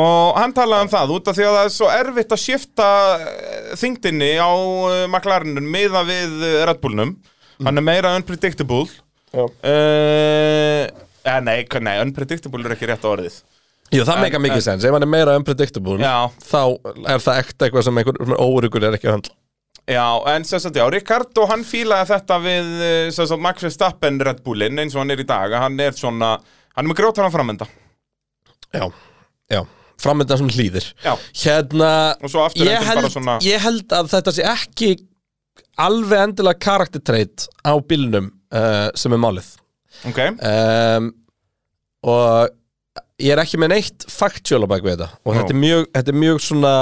Og hann talaði um það út af því að það er svo erfitt að skipta eh, þyngdinni á eh, McLarenum miða við eh, Red Bullnum Hann er meira unpredictable Já. Eh, eh, nei, k- nei, unpredictable er ekki rétt orðið Jú, það meika mikið sens, ef hann er meira unpredictable Já. þá er það ekta eitthvað sem einhver óurugur er ekki að handla Já, en sem sagt, já, Ricardo hann fílaði þetta við eh, sem sagt, Max Verstappen Red Bullin eins og hann er í dag að hann er svona, hann er með grótaran framönda Já, já, framöndan sem hlýðir Já, Hérna, og svo aftur ég endur held, bara svona ég held að þetta sé ekki alveg endilega karaktertreit á bílnum uh, sem er málið Ok, um, og ég er ekki með neitt faktjól á bakvið þetta og Já. þetta er, mjög, þetta er mjög svona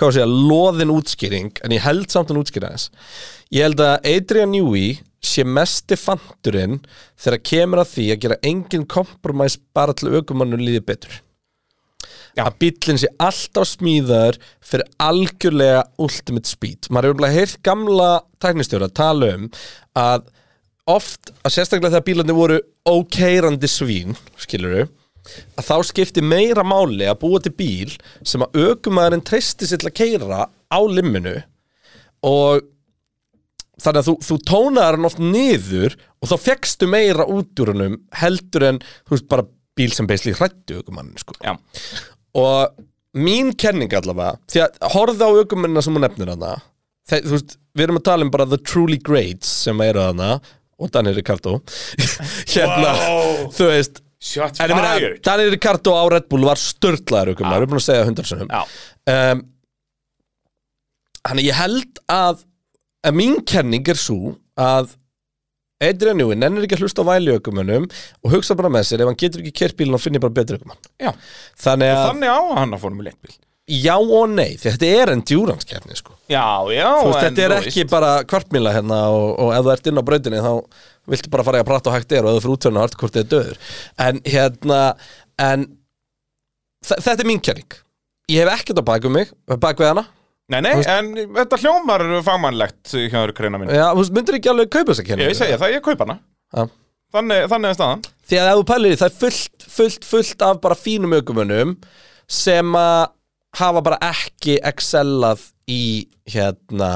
hvað sé ég, loðin útskýring en ég held samt hann útskýra þess ég held að Adrian Newey sé mesti fanturinn þegar kemur að því að gera engin kompromæs bara til aukumannu líði betur Já. að bíllinn sé alltaf smíðar fyrir algjörlega ultimate speed maður hefur bara heyrt gamla tæknistjóra tala um að oft, að sérstaklega þegar bílarnir voru ókeirandi svín, skilur að þá skipti meira máli að búa til bíl sem að aukumæðurinn treysti sér til að keira á limminu og þannig að þú, þú tónaðar hann oft niður og þá fegstu meira út úr hannum heldur en, þú veist, bara bíl sem beisli hrættu aukumæðurinn, sko já, og mín kenning allavega því að horfðu á aukumennina sem hún nefnir hana Þe, þú veist, við erum að tala um bara the truly greats sem eru hana og Daniel Ricardo hérna, Wow. þú veist shots en ég meina, fired Daniel Ricardo á Red Bull var störtlaður aukumenn, við erum búin að segja hundarsunum Já, um, Þannig ég held að, að mín kenning er svo að Adrian Newey nennir ekki að hlusta á væli aukumönnum og hugsa bara með sér ef hann getur ekki kert bílinn og finnir bara betri aukumann já, Þannig að, þannig á hann að formule 1 bíl já og nei, því þetta er endurance keppni sko. Já, já, Þú veist, en þetta er ekki bara kvartmýla hérna og, og ef þú ert inn á brautinni þá viltu bara fara í að prata og hægt er og ef þú fyrir útjörn og hartkort er döður en hérna en, þa- þetta er mín kjörning ég hef ekkert á baku mig baku hana, Nei, nei, Þú veist- Eh, en þetta hljómar fagmannlegt hjá þér kreina mín já, þú veist, myndir ekki alveg kaupa þessa kjörning Ég segja það, ég kaup hana Já. Þannig, þannig er staðan því að ef þú pælir í því, það er fullt, fullt, fullt af bara fínum aukumönnum sem að hafa bara ekki excellað í hérna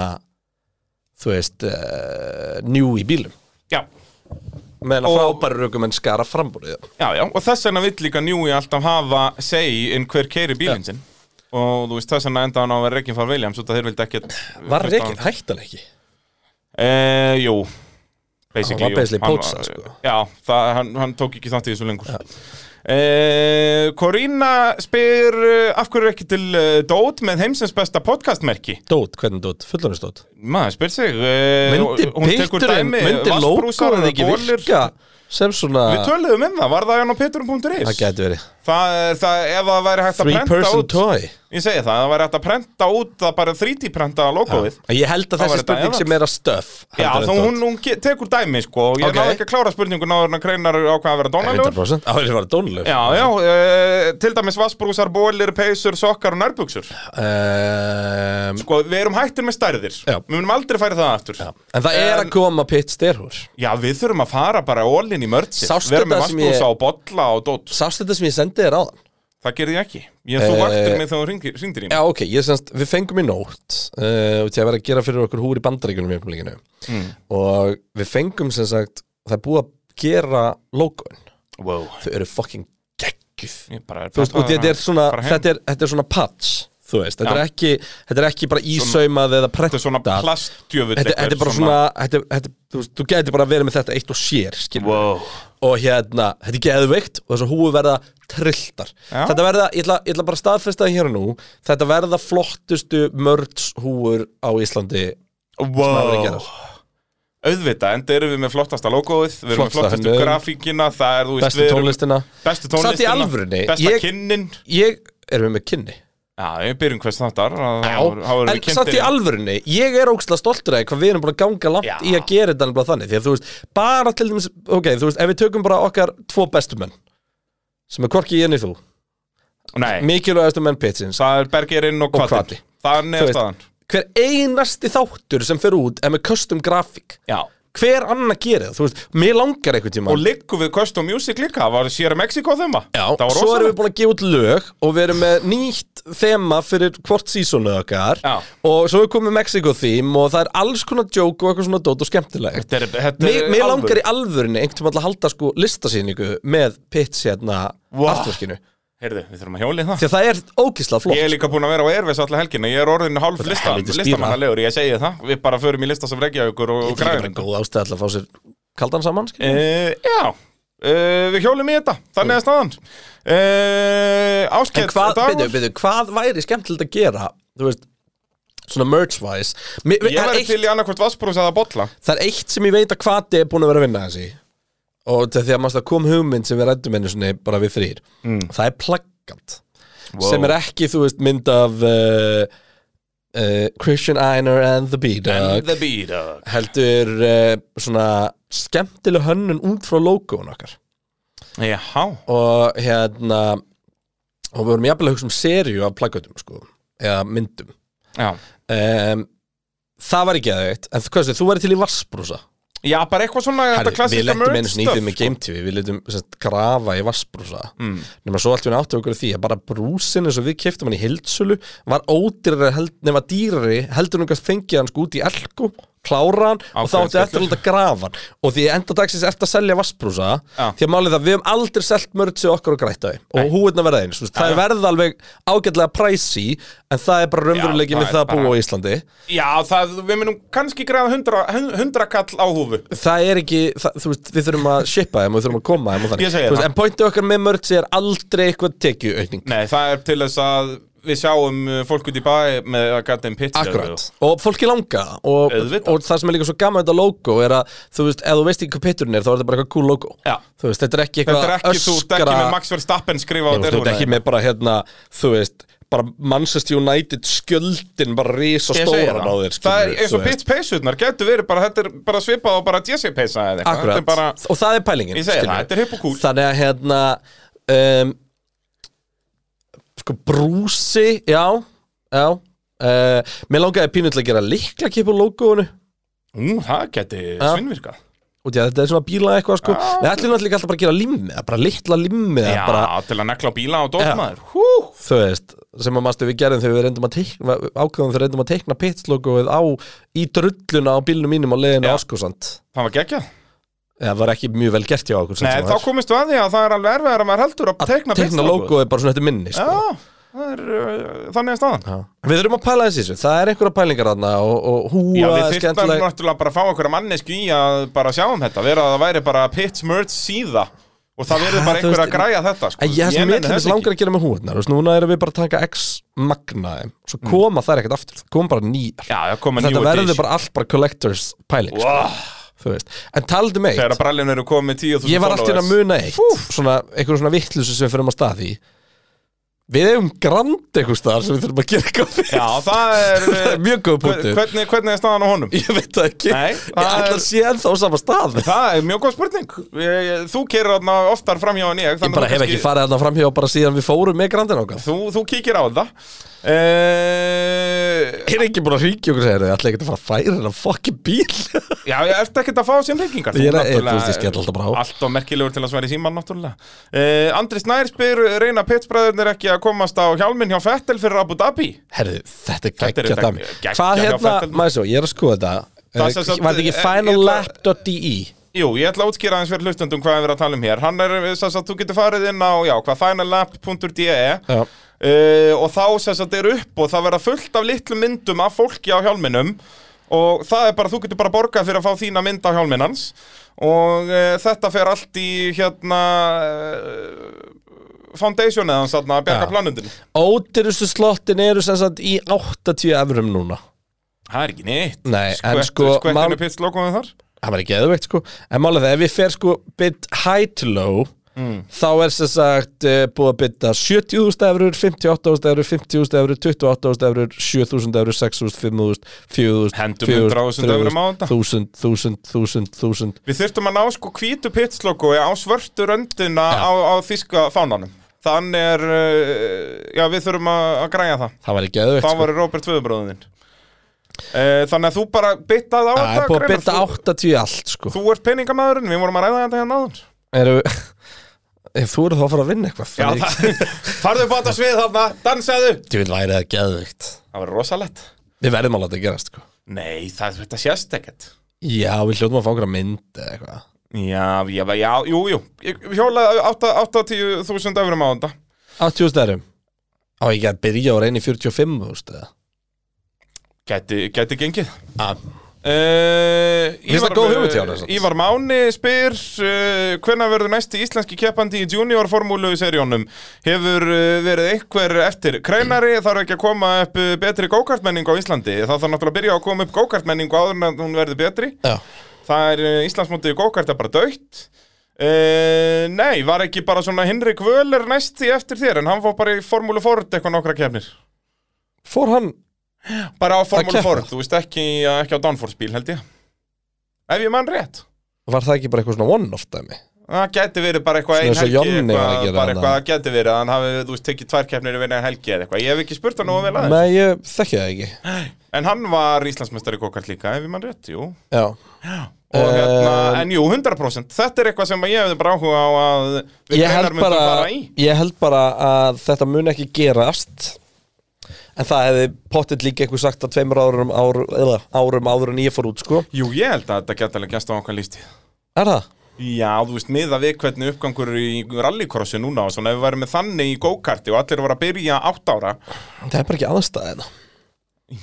þú veist uh, njú í bílum Já, meðan að Og- frábæri aukumenn skara frambúrið Já, já, og þess vegna vill líka Njúi alltaf hafa segi inn hver keiri bílinn sinn og þú veist þess vegna enda hann á að vera Rekin far Williams út að þeir vildi ekkert Var Rekin hættan ekki? Eh, jú Hann Basically, var jú. basically Hann poachað, var- sko. Já, það, hann, hann tók ekki þátt í þessu lengur eh, Korína spyr eh, af hverju er ekki til eh, Dót með heimsins besta podcastmerki Dót, hvernig dót? Fullorins dót? Maður spyr sig eh, Myndi hún tekur pitturinn, dæmi, myndi vatnsbrúsar logoðið eða ekki bolir. virka sem svona Við töluðum um það, var það hann á pitturinn.is Það gæti verið Það er það, ef það væri hægt að Three prenta person út toy Ég segi það, það væri hægt að prenta út það bara 3D-prenta logoið Já, En Ég held að Þá þessi væri þetta spurning eðallt. sé meira stöf þá hún, hún ge- tekur dæmi sko og Ég Ok. okay. náði ekki að klára spurningun áður en að greinar ákvað að vera dónalegur 100% Á, þetta var dónulegur Já, já, uh, til dæmis vassbrúsar, bólir, peysur, sokkar og nærbuxur um, Sko, við erum hættir með stærðir Já. Við munum aldrei færa það aftur Já, En það er að En- koma pitt styrhúr við þurfum að fara bara ólinn í mördsir Sástu Við erum með þetta sem ég- vassbrúsa og bolla og dót Sást þetta sem ég sendi þér á það? Það gerði ég ekki Ég þú Eh, vaktir mig þegar þú ringdir í mig Já, ok, ég semst, við fengum í nótt uh, til að vera að gera fyrir okkur húr í bandaríkunum í öfnumleikinu Hmm. mm. og við fengum sem sagt, það er búið að gera logoin, Wow þau eru fucking geggjuð Ég bara er þú veist, peppaður og þetta er að svona fara heim. þetta er, þetta er svona patch, þú veist þetta Já. er, ekki, þetta er ekki bara ísaumað eða Þetta prentað er svona plastjöfull þetta, þetta er bara svona, þetta, þetta, þú, veist, þú gæti bara verið með þetta eitt og sér skilur við. Wow og hérna, þetta er geðveikt og þessu húi verða trilltar Já. þetta verða, ég ætla, ég ætla bara að staðfesta það hér og nú þetta verða flottustu mörds húur á Íslandi hafa verið wow. gerðar. auðvitað, enda erum við með flottasta logoið við erum með Flottasta flottustu hönnun. grafíkina það er, þú veist, bestu við erum tónlistina Samt bestu í tónlistina alvörunni, besta ég- kynnin ég, erum við með kynni Já, ég byrjum hvers þáttar að Já, þá- þá erum en við kynntir- samt í alvörunni, ég er ógstlega stoltur að hvað við erum búin að ganga langt Já. í að gera þetta nefnilega þannig, því að þú veist, bara til dæmis, ok, þú veist, ef við tökum bara okkar tvo bestu menn, sem er hvorki ég enni þú, Nei, mikilvægastu menn pitsins, það er bergerinn og Og kvati Hvati. Þannig Þú er veist. staðan hver einasti þáttur sem fer út er með custom grafík, Já hver annar gerir það, þú veist, mér langar einhvern tíma. Og liggum við Custom Music líka, það var Sierra Mexico þemma Já, Það var svo erum við rosalegt búin að gefa út lög og við erum með nýtt þema fyrir hvort sísónu okkar Já. og svo er komið Mexico theme og það er alls konar joke og eitthvað svona dót og skemmtilegt Þetta er- þetta Mér, er mér alvöru. langar í alvörinni einhvern tímann að halda sko listasýningu með pits hérna Vá. artworkinu því Heyrðu, við þurfum að hjóli það að það er ógislega flott Ég er líka búin að vera á Airways alla helgina Ég er orðin hálf er lista, helviti spýra. listamannalegur, ég segi það Við bara förum í lista sem regja ykkur og, og Þetta er líka bara græðum góð ástæð til að fá sér kaldan saman skilur. Uh, já, uh, við hjólum í þetta Þannig er staðan uh, en Áskett hvað, byrju, byrju, hvað væri skemmtilegt að gera þú veist svona merch-wise Mér- Ég það, er væri eitt- til í annarkvort vassbrús eða bolla það er eitt sem ég veit að hvati er búin að vera að vinna þessi og þetta er því að maður það kom hugmynd sem við rættum einu svona bara við þrýr Mm. það er plaggant sem er ekki, þú veist, mynd af uh, uh, Christian Einer and the B-Dog the B-Dog heldur uh, svona skemmtileg hönnun út frá logoun okkar Jaha, og hérna og við vorum jafnilega að hugsa um serju af plaggatum sko, eða myndum já um, það var ekki aðeitt en hvað sé, þú væri til í Vassbrúsa Já, bara eitthvað svona þetta Herri, við klassíska lentum merch einu svona í því stuff, með sko. Game TV við lentum sest, grafa í Vassbrúsa mm. nema svo allt við áttum okkur á því að bara brúsin eins og við keftum hann í hildsölu var ódýrari held, nema dýrari heldur hann að fengið hann sko út í elku klára hann og þá áttu Ákveðin eftir að láta grafa hann og því enda dagsins eftir að selja Vassbrúsa Já. því að málið það við hefum aldrei selt mörgsi okkar og grætt á því og húinna verða eins þú veist, það er verða alveg ágætlega præsi en það er bara Já, raunveruleiki það með er það að bara- búa á Íslandi Já, það, við munum kannski græða hundra, hundra kall á húfu það er ekki, það, þú veist, við þurfum að shippa þeim og við þurfum að koma þeim og Ég þannig segi Þú veist, það. en pointu okkar með mörgsi er aldrei eitthvað tekjuaukning Nei, það er til þess að við sjáum uh, fólk út í bæ með að gæta um pitch Akkurat, og fólki langa og, Auðvitað. og það sem er líka svo gaman við þetta logo er að, þú veist, ef þú veist ekki hvað pitturinn er þá er þetta bara eitthvað cool logo Já. Þú veist, þetta er ekki Þetta eitthvað er ekki, þú ert ekki með Max Verstappen skrifa á Þú veist, þú ert derhúna. ekki með bara hérna, þú veist bara Manchester United skjöldin bara risa Ég segi stóran á það. þér Það er skilurðu, eins þú og veist. pitch peysurnar getur verið bara, þetta er bara svipað og bara Jesse peysa eða eitthvað Akkurat, Þetta er bara, og það er pælingin Ég segi það, skilurðu. þetta er hipp og kúl. Þannig að hérna um, Sko brúsi, já Já uh, Mér langaði pínu til að gera líkla kipu logoinu ú, það getur Já. svinnvirkað Og því að þetta er svona bíla eitthvað sko Já. Við ætlum náttúrulega alltaf bara að gera limmiða Bara litla limmiða Já, bara, til að nekla á bíla og Já. dótmaður Hú, Þú veist, sem að mastu við gerðum þegar við reyndum að teikna Ákveðum þegar við reyndum að teikna pitslogoið á Í drulluna á bílnum mínum á leiðinu Já. Áskúsand það var geggjað Það var ekki mjög vel gert hjá okkur Nei, þá komist við að því að það er alveg erfiðar að maður heldur að tekna Teikna logoið bara svona eftir minni sko. Já, það er, uh, þannig er staðan Já. Við þurfum að pæla þessi þessu, það er einhverja pælingar þarna og, og Já, húa við þyrftum skemmtileg náttúrulega bara að fá einhverja mannesku í að bara sjá um þetta vera að það væri bara pitch merge síða og það verður Ja, bara þú einhver veist, að græja þetta sko. En ég hef nenni mér til þess þetta langar að gera með húðnar veist, Núna erum við bara að taka x magna þeim Svo koma þær ekkert aftur, það koma bara nýjar ekki. Já, það Mm. koma Þetta nýju verður bara allt bara collectors pæling sko, wow. þú veist. En taldu meitt, Þegar að brallin eru komið 10.000 ég var alltaf að followers. muna eitt svona, Einhverjum svona vittlusu sem við fyrir um að stað í Við eigum grand einhvers staðar sem við þurfum að gera eitthvað fyrir. Já, það er Það er mjög góð punktur. Hvernig, hvernig er staðan á honum? Ég veit það ekki Nei, Ég það ætla er- að sé ennþá á sama stað Það er mjög góð spurning Ég- ég- Þú kerir þarna oftar framhjá en ég Ég bara hef ekki farið þarna framhjá bara síðan við fórum með grandin okkar Þú, þú kíkir á það uh, er ekki búin að hringja okkur segir þau, ætla ekki að fara að færa hennar fokkin bíl Já, ég ert ekkert að fá sín reykingar Ég er að- þú veist, ég skell alltaf bara á. Allt og merkilegur til að sværi síman, náttúrulega uh, Andri Snær spyr, reyna pitsbræðurnir ekki að komast á hjálminn hjá Fettel fyrir Abu Dhabi? Herðu, þetta er Þetta er geggja þetta dæmi geggjað Hvað hjá hérna, Fettel. maður svo, ég er að skoða þetta Það Eh, sem Var sagt, þetta eh, ekki ég ætla- finallab.de Jú, ég ætla að útskýra aðeins fyrir hlustundum hvað við erum að tala um hér Hann er, þess að þú getur farið inn á, já, hvað finallab.de Já. uh, Og þá, þess að þetta er upp og það verða fullt af litlum myndum af fólki á hjálminum Og það er bara, þú getur bara borgað fyrir að fá þína mynd á hjálminn hans Og uh, þetta fer allt í, hérna, uh, foundationið hans, þarna, að Já. bjarga planundinu Ódýrustu slottin eru sem sagt í 80 evrum núna Það er ekki neitt Nei, en Skvettur- sko Skvettinu mál- mál... pitslokkum þar Það var ekki eðveikt sko En málega það, ef ég fer sko bit high to low Mm. þá er sem sagt eh, búið að bytta 70.000 eurur, 58.000 eurur, 50.000 eurur, 28.000 eurur, 7.000 eurur, 6.000, 5.000, 4.000, Hendum 100.000 eurum á þetta. 1.000, 1.000, 1.000, 1.000. Við þurftum að ná sko hvítu pitslokoi á svörtu röndina á, á þíska fánanum Þannig er, uh, já við þurfum að, að græja það Það var ekki sko. eðvegt. Það var Robert Tvöðubróðin uh, Þannig að þú bara byttað á Það er búið að Greinar. bytta þú, 80 í allt, sko. þú ert peningamæðurinn, við vorum að ræða þetta hérna áður Eru, ef þú eru þá að fara að vinna eitthvað, Já, þannig- það, farðu upp á þetta svið þarna, dansaðu Ég vil væri það geðvikt Það var rosalett Við verðum að láta það gerast sko. Nei, það, þetta sést ekkert Já, við hljóðum að fá einhverja mynd eða eitthvað Já, já, já, jú, jú Ég hjólaði 8-10.000 öfrum á þetta 80 stærum Á ég ekki að byrja á reyni 45 þú veist eða Gæti, gæti gengið ah. Uh, Finnst það góð hugmynd hjá þér, samt? Ívar Máni spyr uh, hvenær verður næsti íslenski keppandi í juniorformúlu í seríónum hefur uh, verið einhver eftir kreinari þarf ekki að koma upp uh, betri gókartmenningu á Íslandi það þarf náttúrulega að byrja að koma upp gókartmenningu áður en að hún verður betri Já, það er uh, Íslandsmótið í gókart er bara dögt uh, nei, var ekki bara svona Hinrik Völer næsti eftir þér en hann fór bara í formúlu Ford eitthvað nokkra keppnir fór hann bara á formúlu keppa. Ford, þú veist ekki, ekki á Danforce bíl held ég ef ég mann rétt Var það ekki bara eitthvað svona one-off dæmi Það geti verið bara eitthvað Svona ein eins og helgi Jonni var að eitthvað, gera bara þarna. eitthvað það geti verið að hann hafi, þú veist, tekið tvær keppnir í vinna helgi eða eitthvað, ég hef ekki spurt hann nú vel aðeins Nei, ég þekki það ekki en hann var Íslandsmeistari kokart líka, ef ég mann rétt, jú og Já, hérna, Um, en jú, 100% þetta er eitthvað sem ég hefði bara áhuga á að við ég greinar held, myndum bara, fara í ég held bara að þetta mun ekki gerast En það hefði pottet líka einhver sagt að tveimur árum, árum, eða, árum áður en ég fór út sko Jú, ég held að þetta geti alveg gæst á okkar lístíð Er það? Já, þú veist, miða við hvernig uppgangur í rallycrossi núna og svona, ef við værum með þannig í go-karti og allir voru að byrja 8 ára Það er bara ekki hérna. aðstæðina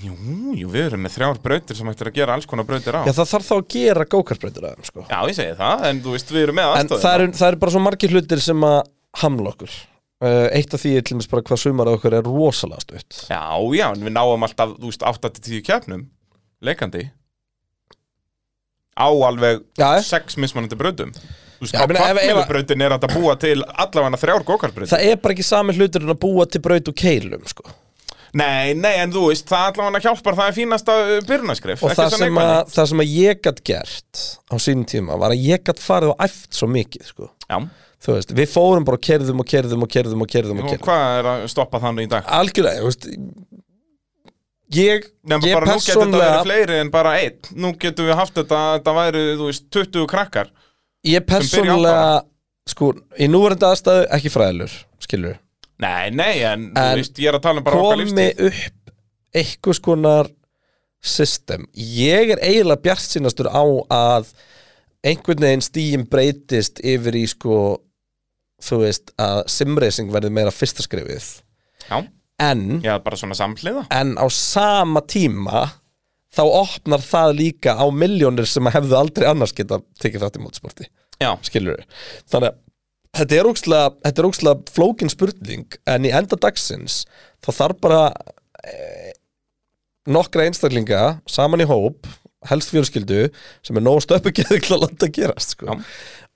Jú, jú, við erum með þrjár brautir sem ættir að gera alls konar brautir á Já, það þarf þá að gera gókartbreytur aðeim sko Já, ég segi það, en þú veist, við erum með En aðstæðum það eru, það eru bara svo margir hlutir sem að hamla okkur uh, Eitt af því er til mér bara hvað sumar okkur er rosalega stutt Já, já, en við náum alltaf, þú veist, 8-10 keppnum leikandi á alveg Já. 6 mismanandi brautum Þú veist, Já, á ég meina, ef- ef- kvartmiðubrautin er hægt að búa til allavega þrjár gókartbrautin Það er bara ekki sami hlutur en að búa til braut og keilum sko. Nei, nei, en þú veist, það allavega hjálpar, það er fínasta uh, byrjunaskrif Og það sem, að, það sem að ég gætt gert á sínum tíma var að ég gætt farið og æft svo mikið sko. Já, Þú veist, Við fórum bara og kerðum og kerðum og kerðum og kerðum og og kerðum hvað er að stoppa þannig í dag? Algjörlega, þú veist Ég, Nefnum ég bara, nú getur þetta verið persónlega fleiri en bara einn Nú getum við haft þetta, þetta væri, þú veist, 20 krakkar Ég sem byrja á persónlega sko, í núverandi aðstæðu ekki fræðilur skilur Nei, nei, en, En þú veist, ég er að tala um bara okkar komi lífstíð upp einhvers konar system. Ég er eiginlega bjart sínastur á að einhvern veginn stíin breytist yfir í sko þú veist að simracing verði meira fyrsta skrifið Já, en, já, bara svona samhliða en á sama tíma þá opnar það líka á miljónir sem að hefðu aldrei annars geta tekið þátt í mótsporti, Já, skilur þannig að þetta er ókslega, þetta er ókslega flókin spurning en í enda dagsins þá þarf bara eh, nokkra einstaklinga saman í hóp helst fjölskyldu sem er nóg stöpugeði til að landa að gerast sko.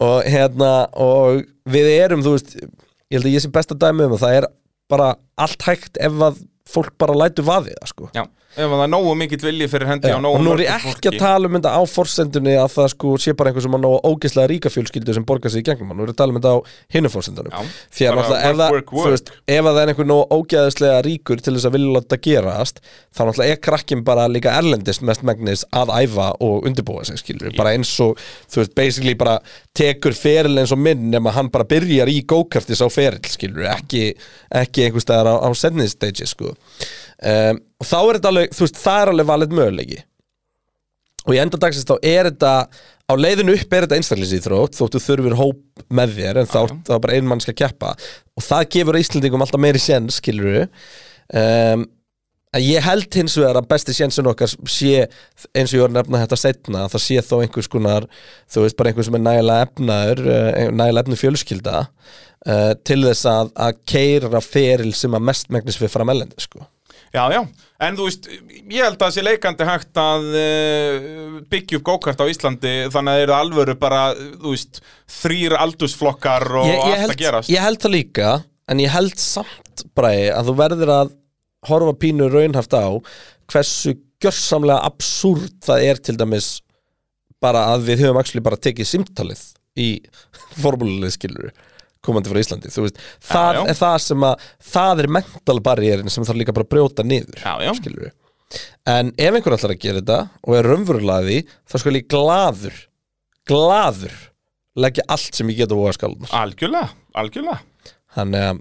og hérna og við erum þú veist ég held að ég sé besta dæmi um að það er bara allt hægt ef að fólk bara lætur vaðið það sko Já, ef það er nógu mikill vilji fyrir hendi Já, á og nógu nú er mörgu ég ekki fólki. að tala um þetta á forsendunni að það sko sé bara einhver sem að ná ógislega ríka fjölskyldu sem borgar sig í gegnum hann, nú er ég að tala um þetta á hinu forsendunum Já, því að bara náttúrulega ef, work, það- work, þú work. Veist, ef að það er einhver nóg ógeðislega ríkur til þess að vilja láta gerast þá náttúrulega er krakkin bara líka erlendist mest megnis að æfa og undirbúa sig skilur, bara eins og þú veist, basically bara tekur feril eins og minn nema hann bara byrjar í go-kartis á feril skilur, ekki, ekki einhver staðar á, á sending stage sko. um, og þá er þetta alveg, þú veist, það er alveg valið möguleiki og í enda dagsins þá er þetta á leiðinu upp er þetta einstaklisíþrótt þóttu þurfir hóp með þér en þá er það bara ein mannska keppa og það gefur Íslandingum alltaf meiri sén skilur við um, en ég held hins vegar að besti sénsinn okkar sé eins og ég var að nefna þetta setna það sé þó einhvers konar þú veist bara einhver sem er nægilega efnaður eh, nægilega efnu fjölskylda eh, uh, til þess að, að keira feril sem að mest megnis við fram ellendi sko Já, já, en þú veist, ég held að það sé leikandi hægt að uh, byggja upp gókart á Íslandi þannig að það eru alvöru bara, þú veist, þrýr aldursflokkar og ég, ég, allt að held, gerast ég held það líka en ég held samt bræði að þú verður að horfa pínu raunhaft á hversu gjörsamlega absúrt það er til dæmis bara að við höfum actually bara tekið símtalið í formúlulegu skilur komandi frá Íslandi, þú veist það já. er það sem að, það er mental barrierin sem þarf líka bara að brjóta niður Já, já. skilur en ef einhver ætlar að gera þetta og er raunverulega að því, þá skal ég glaður glaður leggja allt sem ég get á vogaskálum Algjörlega, algjörlega Þannig að uh,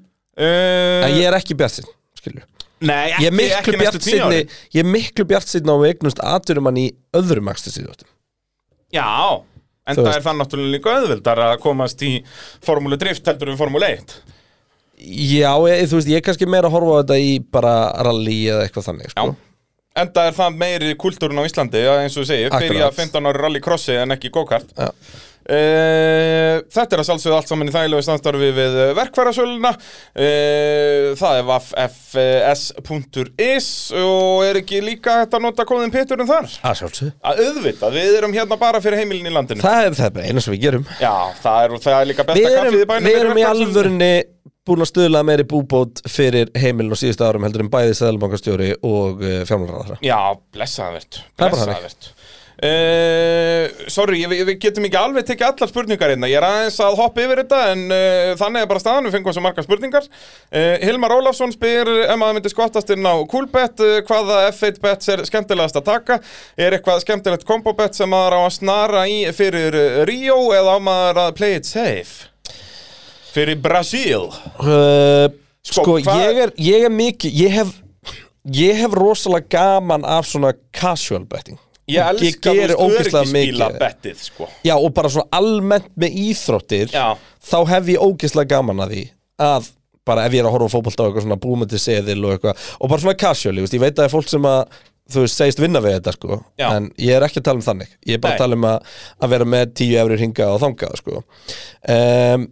en ég er ekki bjartsinn, skilju Nei, Ég ekki, er miklu ekki næstu tíu bjartsinn ári Ég er miklu bjartsinn á að við eignumst aturumann í öðrum akstu síðóttum Já, en Þú það veist. er það náttúrulega líka auðvildar að komast í formúlu drift heldur en formúlu 1 Já, ég, þú veist, ég er kannski meira að horfa á þetta í bara rally eða eitthvað þannig Já sko. En það er það meiri kultúrun á Íslandi, að eins og þú segir, Akkurat. byrja 15 ára rallycrossi en ekki go-kart. Já. Eh, þetta er að sjálfsögðu allt saman í þægilegu samstarfi við eh, verkfærasöluna uh, Það er vaffs.is og er ekki líka hægt að nota kóðin Peturinn þar? Að sjálfsögðu. Að auðvitað, við erum hérna bara fyrir heimilin í landinu Það er, það er bara eina sem við gerum Já, það er, það er líka besta Við erum, kaffið í við bænum fyrir erum í verkfærasöluna. alvörunni búin að stuðla meiri búbót fyrir heimilin og síðustu árum heldur en bæði sæðalbankastjóri og uh, fjármálaráðara Já, blessaðvert Það er bara þannig. Blessaðvert Uh, sorry, ég- við getum ekki alveg tekið allar spurningar hérna, ég er aðeins að hoppa yfir þetta en uh, þannig er bara staðan, við fengum svo margar spurningar uh, Hilmar Ólafsson spyr ef maður myndi skottast inn á Coolbet uh, hvaða F1 bets er skemmtilegast að taka er eitthvað skemmtilegt kombobet sem maður á að snara í fyrir uh, Rio eða á maður að play it safe fyrir Brasil Uh, Sko, sko, hvað- ég er, ég er mikið ég hef, ég hef rosalega gaman af svona casual betting Ég Og elska geri ógeðslega örgisbíla mikið. bettið sko Já, og bara svona almennt með íþróttir Já. þá hef ég ógeðslega gaman að því að bara ef ég er að horfa á fótbolta og eitthvað svona búmið til seðil og eitthvað og bara svona casual, ég, veist, ég veit að það er fólk sem að þú veist, segist vinna við þetta sko Já. en ég er ekki að tala um þannig ég er bara Nei. að tala um að, að vera með 10 efri hringað og þangað sko um,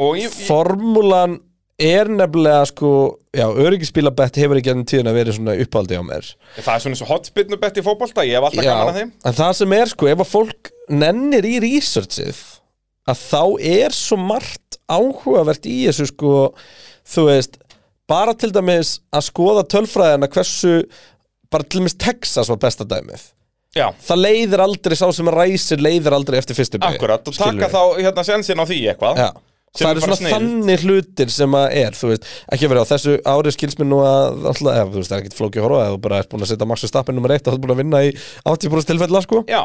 Og ég, ég, formúlan er nefnilega sko, já, öryggispílabett hefur ekki ennum tíðin að vera svona uppaldi á mér Það er svona eins og hotspinnu bett í fótbolta, ég hef alltaf Já, gaman að þeim en það sem er sko, ef að fólk nennir í researchið að þá er svo margt áhugavert í þessu sko þú veist, bara til dæmis að skoða tölfræðina hversu bara til dæmis Texas var besta dæmið Já, það leiðir aldrei, sá sem ræsir leiðir aldrei eftir fyrstu beygju, akkurat, og taka skilurðu. þá hérna sensin á því eitthvað Já. Sem Það er eru bara svona sniðugt. þannig hlutir sem að er, þú veist, ekki að vera á þessu ári skilsmið nú að alltaf, eða, þú veist, það er ekkit flóki að horfa eða þú bara ert búin að setja maxu stappin nummer eitt og þú ert búin að vinna í 80% tilfella, sko. Já,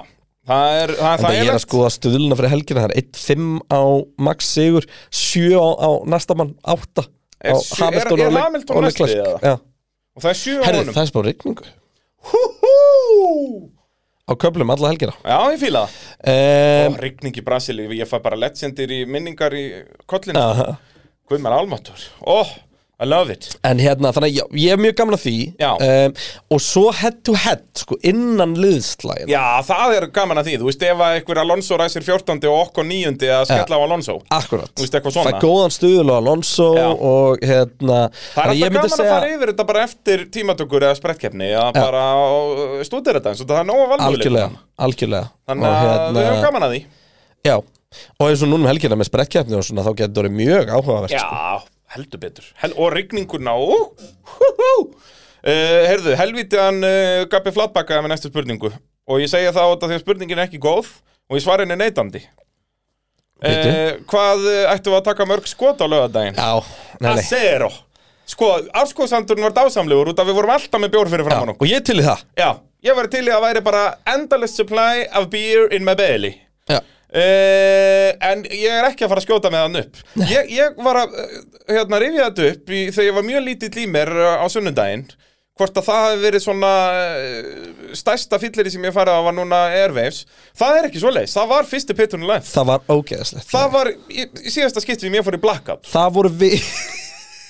það er það, er En það það ég er að skoða stöðluna fyrir helgina, það er 1-5 á max sigur, 7 á, á næsta mann, 8 á Er sjö- er- Hamilton er og Le- Hamilton og næsti Leclerc. eða? Já. Og það er sjö á Herri, honum það er spáð rigningu Hú-hú! á köflum alla helgina. Já, ég fíla það Um, um, Rigning í Brasili, ég fæ bara legendir í minningar í kollinu aha. Guðmar Almatur Oh, I love it En hérna, þannig að já, ég er mjög gaman að því Já. um, Og svo head to head, sko, innan liðslægin Já, það er gaman að því, þú veist, ef að einhver Alonso ræsir 14. og okkur 9. að skella á Alonso Akkurat Þú veist, eitthvað svona. Fær góðan stuðul á Alonso Já. og hérna Það er þannig ég alltaf myndi gaman að fara yfir þetta bara eftir tímatökur eða sprettkeppni að bara uh, stúdera þetta eins og það er nóg að valmölu Algjörlega, algjörlega hérna Þannig að við höfum gaman að því Já, og eins og núna um helgina með sprekkjafni og svona þá getur það orðið mjög áhugavert sko. Já, heldur betur Hel Og rigninguna og hú, hú. Uh, Heyrðu, helvítiðan uh, Gabi Flatbaka með næstu spurningu Og ég segja það út af því að spurningin er ekki góð Og ég svara henni neitandi uh, Bíddu. Hvað uh, ættum við að taka mörg skot á lögadaginn? Já, nei, nei Asero Sko, afskóðsandurinn var dásamlegur út af við vorum alltaf með bjór Já, fyrir framan Og okkur ég er til í það Já, ég var til í að væri bara endless supply of beer in my belly Já, uh, En ég er ekki að fara að skjóta með hann upp ég, ég var að eh, hérna, rifja þetta upp í, þegar ég var mjög lítill í mér eh, á sunnudaginn Hvort að það hafi verið svona eh, stærsta fyllir sem ég farið að var núna Airwaves Það er ekki svoleiðis, það var fyrsti pitturinn lef það var ógeðslegt Það var í, í síðasta skipti sem ég fór í blackout Það voru við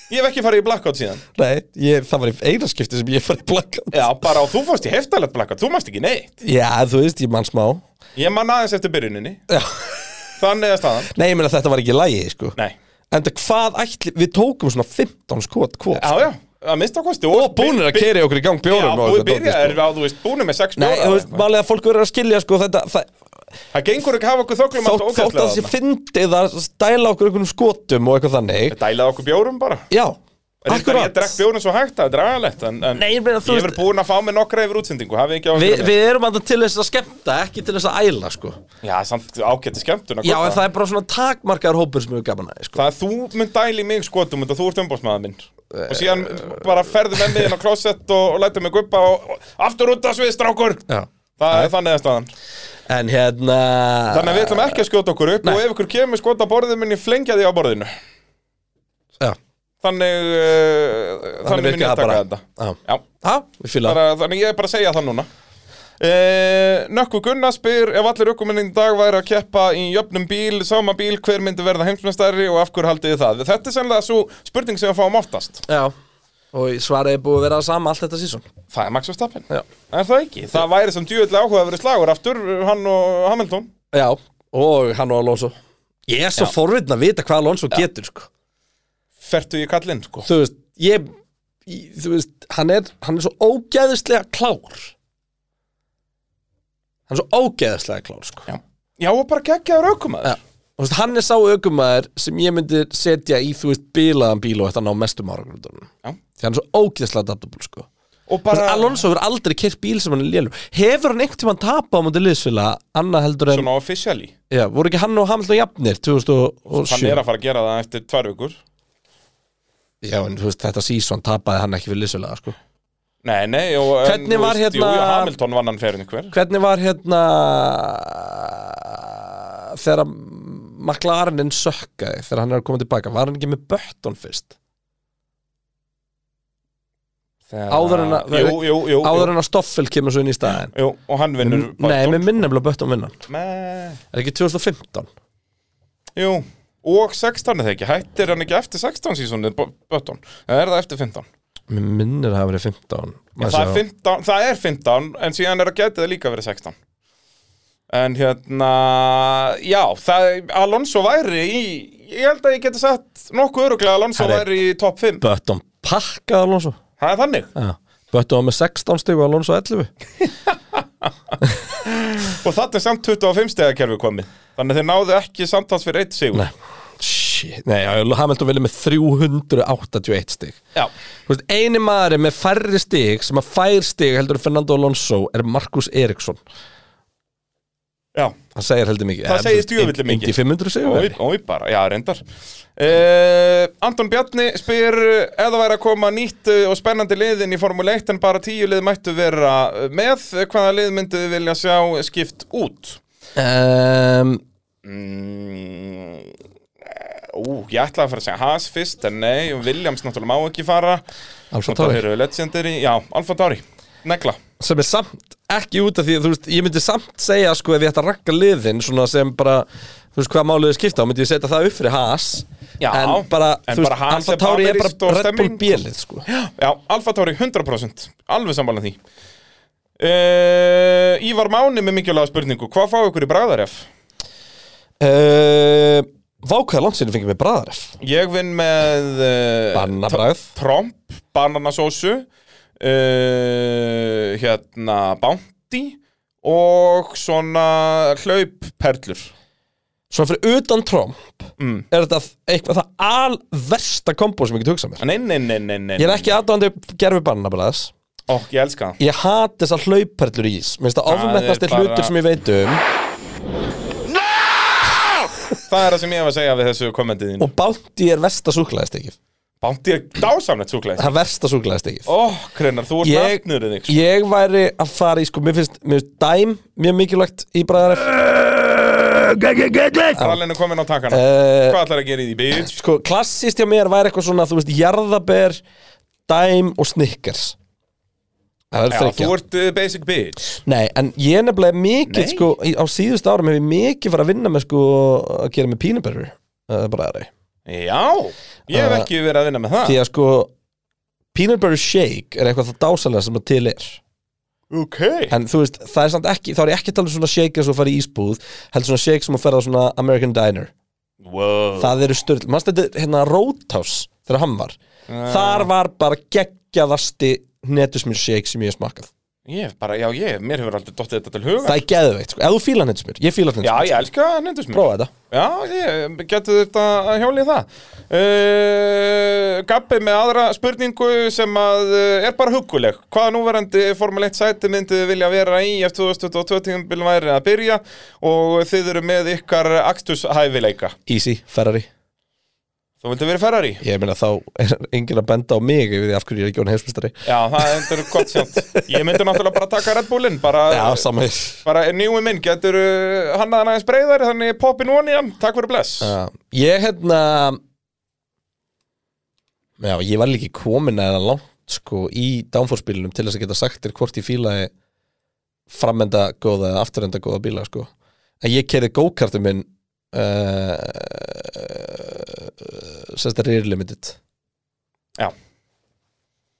Ég hef ekki farið í blackout síðan Nei, ég, það var í eina skipti sem ég farið blakka Já, bara og þú fórst í heftalegt blackout, þú mást ekki neitt Já, þú veist, ég mann smá Ég man aðeins eftir byrjuninni Já. Þannig að staðan Nei, ég meina þetta var ekki lægi, sko Nei Enda hvað ætli, við tókum svona 15 skot kvot Já, já, að mista kosti Og búnir að keiri okkur í gang Já, bjórum búið byrjaðir á, þú veist, búnir með sex sko. Nei, bjóra þú eða veist, eitthvað. málið að fólk verður að skilja sko þetta það, Það gengur ekki að hafa okkur þoklum Þótt, þótt að þessi fyndið að dæla okkur einhvernum skotum og eitthvað þannig Dælaði okkur bjórum bara Já, Reyndar, Ég akkurat drekk bjórum svo hægt, það er dragalegt En, en Nei, ég meina, þú ég hef veist- búin að fá mig nokkra yfir útsendingu Hafið ekki á Vi, Við erum að til þess að skemmta, ekki til þess að æla sko Já, samt ágæti skemmtun að Já, kaupa. en það er bara svona takmarkaðar hópur sem við gaman að sko. Það að þú mynd dæli í mig skotum þetta þú ert umbóðsmaður minn Eh, og síðan bara ferðu með mig inn á klósett og, og lætur mig guppa og, og aftur út að svið strákur Já. Það er þannig að staðan En hérna Þannig að við ætlum ekki að skjóta okkur upp Nei. og ef ykkur kemur skota borðið minni flengja því á borðinu Já, Þannig, uh, þannig, þannig mun ég virkar það taka bara þetta Já, Já, Já, við fylgum bara, þannig ég er bara að segja það núna Uh, Nökku Gunnar spyr ef allir ökumenninn í dag væri að keppa í jöfnum bíl, sama bíl, hver myndi verða heimsmestari og af hver haldið þið það þetta er sennilega svo spurning sem við fáum oftast Já, og svarið er búið að vera það sama allt þetta sísón Það er Max Verstappen Já. Er það ekki? Það væri sem djúvillig áhuga að vera slagur aftur hann og Hamilton Já, og hann og Alonso Ég er svo Já. forvitn að vita hvað Alonso getur sko. Fertu í kallinn sko Þú veist, ég í- Þú veist, hann er, hann er svo ógeðislega klár Hann er svo ógeðislega klár sko. Já, Já og bara geggjaður aukumæður Já Og þú veist, hann er sá aukumæður sem ég myndi setja í, þú veist, bilaðan bíl og þetta ná mestum áragrundunum Já. Því hann er svo ógeðslega adaptable, sko Og Þú veist, bara Alonso hefur aldrei kert bíl sem hann er lélur Hefur hann einhvern tímann tapa á múti liðsfila annað heldur en svona officially Já, voru ekki hann og Hamilton jafnir 2007? Hann er að fara að gera það eftir tvær vikur Já, en þú veist, þetta sísón tapaði hann ekki við liðsölega, sko. Nei, nei og, en, Hvernig þú var veist, hérna- Jú, jú, Hamilton vann hann fyrir einhver Hvernig var hérna þegar McLarenin sökkaði þegar hann er að koma tilbaka, var hann ekki með Bötton fyrst? Þegar... Áður en að- Jú, jú, jú, Áður en að Stoffel kemur svo inn í staðin jú. jú Og hann vinnur Nei, með minnumlega Bötton vinnan með... Er ekki 2015? Jú Og 16 er það ekki Hættir hann ekki eftir 16 sísónið Bötton Eða er það eftir 15 Mér minnir að það hafa verið 15 Maður það er, sjá. 15, það er 15 en síðan er að geti það líka verið 16 en hérna já, það, Alonso væri í ég held að ég geti sagt nokkuð öruglega að Alonso Það er- væri í topp 5 Button pakkaði Alonso það er þannig ja. Button var með 16 stig og Alonso 11 og þarna er samt 25 stegakerfi komið þannig að þeir náðu ekki samtals fyrir eitt sigur Nei, shit Nei, já, Hamilton vinnur með 381 stig já, Þú veist, eini maður með færri stig sem að fær stig heldur en Fernando Alonso er Markus Eriksson já hann segir heldur mikið Það Eh, þú segir veist, djöfulli inn- inn í mikið. 500 Ói, sigur ói bara, já reyndar uh, Anton Bjarni spyr eh, ef það væri að koma nýtt eh, og spennandi liðin í Formule 1 en bara tíu lið mættu vera eh, með eh, hvaða lið myndu þið vilja sjá skipt út? um, Mm, ú, ég ætlaði að fara að segja Haas fyrst en nei, Williams náttúrulega má ekki fara Alfa Náttúrulega Tauri eru legendary, já, Alfa Tauri Negla, sem er samt ekki út af því að þú veist ég myndi samt segja sko ef ég ætti að ranka liðin svona sem bara þú veist hvað máliði skipta þá myndi ég setja það upp fyrir Haas Já, en bara en þú bara veist Haas Alfa er Tauri er bannerist og bara Red Bull stemming. bjelið sko já, Alfa Tauri 100% alveg sammála því uh, Ívar Máni með mikilvæga spurningu, hvað fá ykkur í bræðaref? uh, Vákaða landsinu fengið mér bræðaref Ég vinn með uh, Bannabræð Tromp, bananasósu uh, Hérna Bounty Og svona hlaupperlur Svona fyrir utan Trump Mm. er þetta eitthvað það alversta kombo sem ég get hugsað mér Nei, nei, nei, nei, nei Ég er ekki aðdóðandi gerfi bannabræðs Ó, ég elska það Ég hati þessar hlauperlur í ís Mér finnst það Það er ofmetnasti bara- hlutur sem ég veit um Það er það sem ég hef að segja við þessu kommentið þín Og bánti er versta súklaðist ekki Bounty er dásamlegt súklaðið Það er versta súklaðist ekki Ó, krennar, þú ert Ég- nartnur þig Ég væri að fara í sko Mér finnst, mér finnst dæm mjög mikilvægt í bræðaref Rallin er komin á takana Eh, Hvað ætlar að gera í því, bitch? Sko klassist hjá mér væri eitthvað svona Þú veist, jarðaber, dæm og snickers Það er Já, þreikja þú ert uh, basic bitch Nei, en ég er nefnilega mikið Nei. sko, í- á síðustu árum hef ég mikið farið að vinna með sko, að gera með pínabörur uh, bræðari, Já, ég hef Eh, ekki verið að vinna með það því að sko peanut butter shake er eitthvað það dásalega sem það til er Ok en þú veist, það er samt ekki, þá er ég ekki að tala um svona shake eins og farið í ísbúð, heldur svona shake sem að ferða svona American Diner Wow það eru styrl, mannst þetta hérna Roadhouse þegar hann var Þar var bara geggjaðasti netusmjör shake sem ég hef smakkað Ég hef bara, já ég, mér hefur aldrei dottið þetta til huga Það er geðveikt, sko, eða þú fílar netusmjör Ég fílar Já, netusmjör, ég elska nefndusmjör prófa þetta Já, ég getur þetta að hjóli það uh, Gabbi með aðra spurningu sem að uh, er bara huguleg Hvaða núverandi Formule 1 sæti myndið þið vilja vera í ef 2022 tíðanbílum væri að byrja og þið eru með ykkar akstushæfileika Easy, Ferrari Þú vildi verið Ferrari? Ég meina þá er enginn að benda á mig yfir því af hverju ég er ekki hún heimsmyndstari Já, það endur gott sjátt Ég myndi náttúrulega bara taka Red Bullinn bara, Já, saman hér bara nýjum minn, getur hann að hann aðeins breyðar þannig poppin von í hann, takk fyrir bless Já, Ég hérna Já, ég var líki komin eða langt sko í downforspilunum til þess að geta sagt þér hvort ég fílaði framenda góða eða afturenda góða bíla sko en ég kerði go-kartum minn uh, sérst að rear limited Já.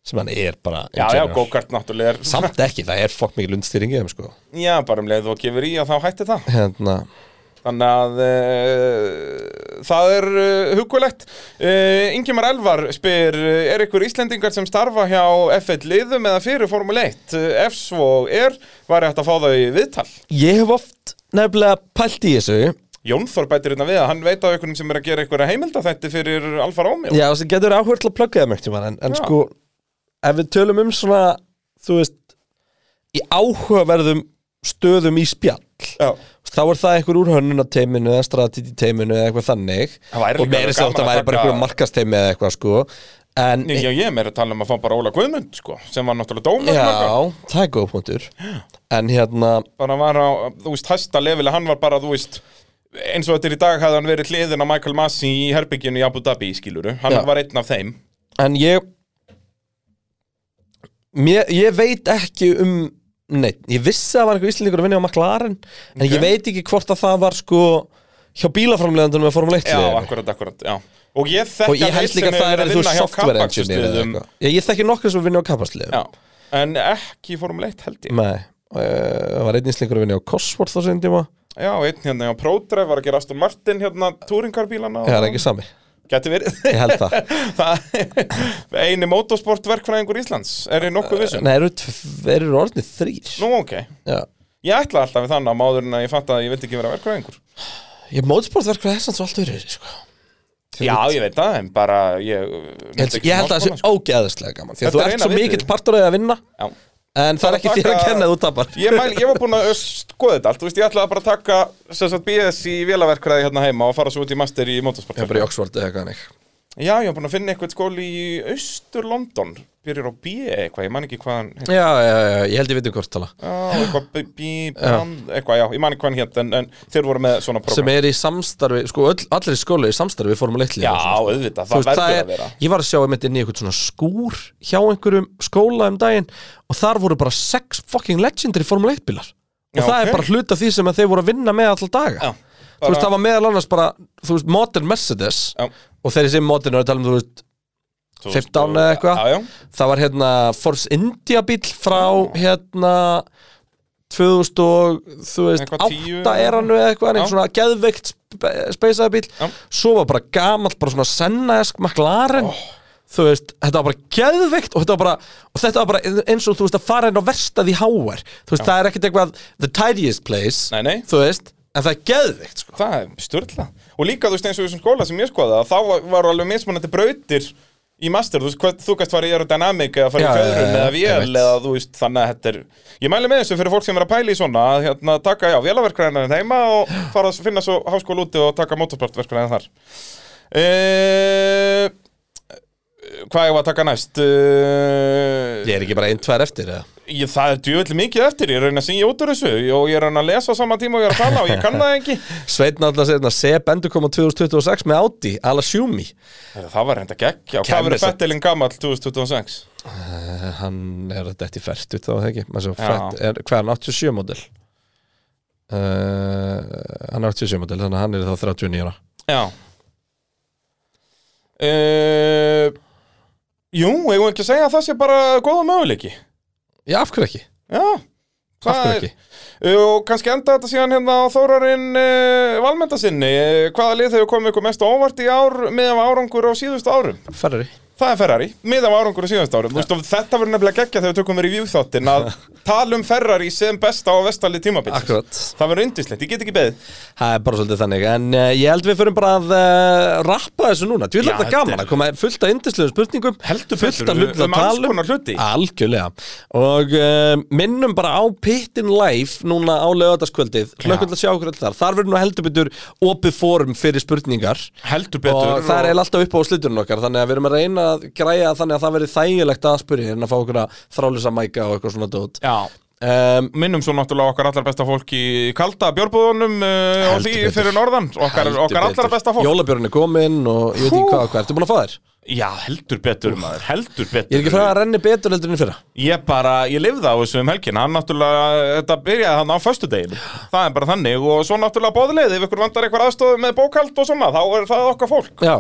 sem hann er bara in Já, já, general. go-kart náttúrulega er samt ekki, það er fokk mikið lundstýringi þeim sko Já, bara um leið og gefur í að þá hætti það hérna, Þannig að e, það er e, hugulegt e, Ingemar Elvar spyr e, Er ykkur Íslendingar sem starfa hjá F1 liðum eða fyrir Formule 1? E, Ef svo er, var ég hægt að fá þau í viðtal ég hef oft nefnilega pælt í þessu Jón Þór bætir hérna við að hann veit af einhvernum sem er að gera einhverja heimilda þetta fyrir Alfa Romeo Já, sem getur áhverð til að plugga það mjög tíma en, en Já. sko, ef við tölum um svona þú veist í áhugaverðum stöðum í spjall Já. þá er það einhver úr hönnunateiminu eða strategiteiminu eða eitthvað þannig Það væri og líka meiri sér gaman átt að að væri bara taka- einhver markasteimi eða eitthvað sko en, Já, ég er meira að tala um að fá bara Óla Guðmund sko, sem var náttúrulega dómur nokkar. já, það er góð punktur en hérna, bara var á, þú veist, hæsta leveli hann var bara, þú veist eins og þetta er í dag hafði hann verið hliðin á Michael Massey í herbygginu í Abu Dhabi, skiluru hann Já. var einn af þeim en ég mér, ég veit ekki um neitt, ég vissi að það var einhver íslendingur að vinna á McLaren en Ok. ég veit ekki hvort að það var sko hjá bílaframleðandunum með Formule 1 Já, liðinu. akkurat, akkurat, já Og og ég þekki ég held líka að það er þú veist, software engineer eða eitthvað. Já, ég þekki nokkra sem vinna á kapasliðum Já, en ekki í Formule 1 held ég nei, og, eh, það var einn íslendingur að vinna á Cosworth á sinni tíma, Já, einn hérna á ProDrive var að gera Aston Martin hérna túringarbílana það er ekki sami Gæti verið ég held það, Það eini motorsportverkfræðingur Íslands Er ég nokkuð vissum? nei, eru, tv- eru orðnið þrýr Nú, ok já Ég ætla alltaf við þannig að máður en að ég fatt að ég vildi ekki vera verkfræðingur Ég mótsportverkur er sanns og allt verið sko. Já, ég veit það, en bara ég, uh, Ég held, ég held að það sé ógeðislega gaman Því að Þetta þú er ert eina svo vitið. mikill partur af því að vinna sko. Já. En það er ekki Bara þér að taka- kenna að þú tapar Ég, mæl, ég var búinn að skoða þetta allt, þú veist, ég ætlaði bara að taka sem sagt, BS í vélaverkræði hérna heima og fara svo út í master í motorsport bara í Oxford eða eitthvað þannig Já, ég var búinn að finna eitthvað skóli í austur London byrjar á B eitthvað, ég man ekki hvað hann hétt Já, já, já, ég held ég veit um hvort tala Já, eitthvað B, B, brand, eitthvað, já, ég man ekki hvað hann hétt en, en þeir voru með svona Sem program er í samstarfi, sko, öll, allir skóla í samstarfi Fórum að litli Já, auðvitað, sko. Þú það veist, verður það að er, vera ég var að sjá einmitt inn í eitthvað svona skúr hjá einhverjum skóla um daginn og þar voru bara sex fucking legendary Formule 1 bílar og Já, það ok. er bara hluta því sem að þeir voru að vinna með alltaf daga Já, Þú veist, bara- það var meðal annars bara, þú veist, modern Mercedes Já. og þeirri sem modern er að tala um, þú veist, 15 eða eitthvað. Já, já, það var hérna Force India bíl frá hérna 2000 og þú veist Eitthvað 10 átta er hann eða eitthvað, Já. einhvern svona geðveikt speysaða bíl, Já. svo var bara gamalt bara svona sennaesk McLaren þú veist, þetta var bara geðveikt og þetta var bara, og þetta var bara eins og þú veist að fara inn á verstað í háar þú veist, það er ekkert eitthvað the tidiest place Nei, nei. þú veist, en það er geðveikt sko. það er störla og líka þú veist eins og þessum skóla sem ég skoða þá var- var alveg mismunandi brautir í master, þú veist, hvað, þú gæst fara í aerodynamic eða fara Já, í já, fjöðrun já, eða ég vél veit. eða þú veist, þannig að þetta er ég mæli með þessu fyrir fólk sem er að pæla í svona að hérna, taka, já, vélaverkræðina heima og fara að finna svo háskóla úti og taka motorsportverkræðina þar e Hvað ég var að taka næst? E ég er ekki bara einn, tvær eftir eða ég, það er djöfull mikið eftir, ég er að reyna að syngja út úr þessu og ég er að reyna að lesa á sama tíma og ég er að tala og ég kann það ekki Sveitn alltaf segir hérna Seb endur koma 2026 með Audi ala Schumi Heyrðu, Það var reynda gegg, já, hvað Kæmi verður samt- Fettilinn gamall 2026? hann er þetta í fært þá það ekki Maður svo Já. fært, er, hvað er hann 87 model uh, hann er 87 model þannig að hann er þá 39 ára Já uh, Jú, eigum við ekki að segja að það sé bara góða möguleiki já af hverju ekki, Já af það hverju er- ekki Uh, Og kannski enda þetta síðan hérna á Þórarinn Eh, uh, Valmendasinni Hvaða lið hefur komið ykkur mest á óvart í ár meðan árangur á síðustu árum? Ferrari Það er Ferrari, miðan árangur á síðast árum Þú veist, og Þetta verður nefnilega geggja þegar við tökum við review þáttin að tala um Ferrari sem besta á vestalið tímabils Akkurat. Það verður yndislegt, ég get ekki beðið Það er bara svolítið þannig En uh, ég held við förum bara að uh, rappa þessu núna Þú vil Já, þetta þetta gaman er- að koma fullt af yndislegum spurningum Heldur Fullt betur, af hlutum um að alls tala konar hluti. Algjörlega Og uh, minnum bara á Pittin Live Núna á lögataskvöldið Hlökkum til að sjá okkur öll þar Þar verður nú heldur betur opið fórum fyrir spurningar Heldur betur Og það er eiginlega alltaf upp á slutturinn okkar Þannig að við erum að reyna að græja þannig að það verði þægilegt að spyrja En að fá okkur að þrálisa mæka og eitthvað svona dót Já um, Minnum svo náttúrulega okkar allar besta fólk í kalda bjórbúðunum uh, og Heldur því betur. fyrir norðan okkar, Heldur okkar allar betur. besta fólk Jólabjörn er kominn og ég veit ekki Hú. hvað og hvað Ertu búin að fá þér? Já, heldur betur maður, heldur betur Ég er ekki frá að renni betur heldur enn í fyrra Ég bara, ég lifði á þessu um helgin Hann náttúrulega, þetta byrjaði hann á föstudeginu Það er bara þannig og svo náttúrulega bóðleið Ef ykkur vantar eitthvað aðstoð með bókald og svona Þá er það okkar fólk Já,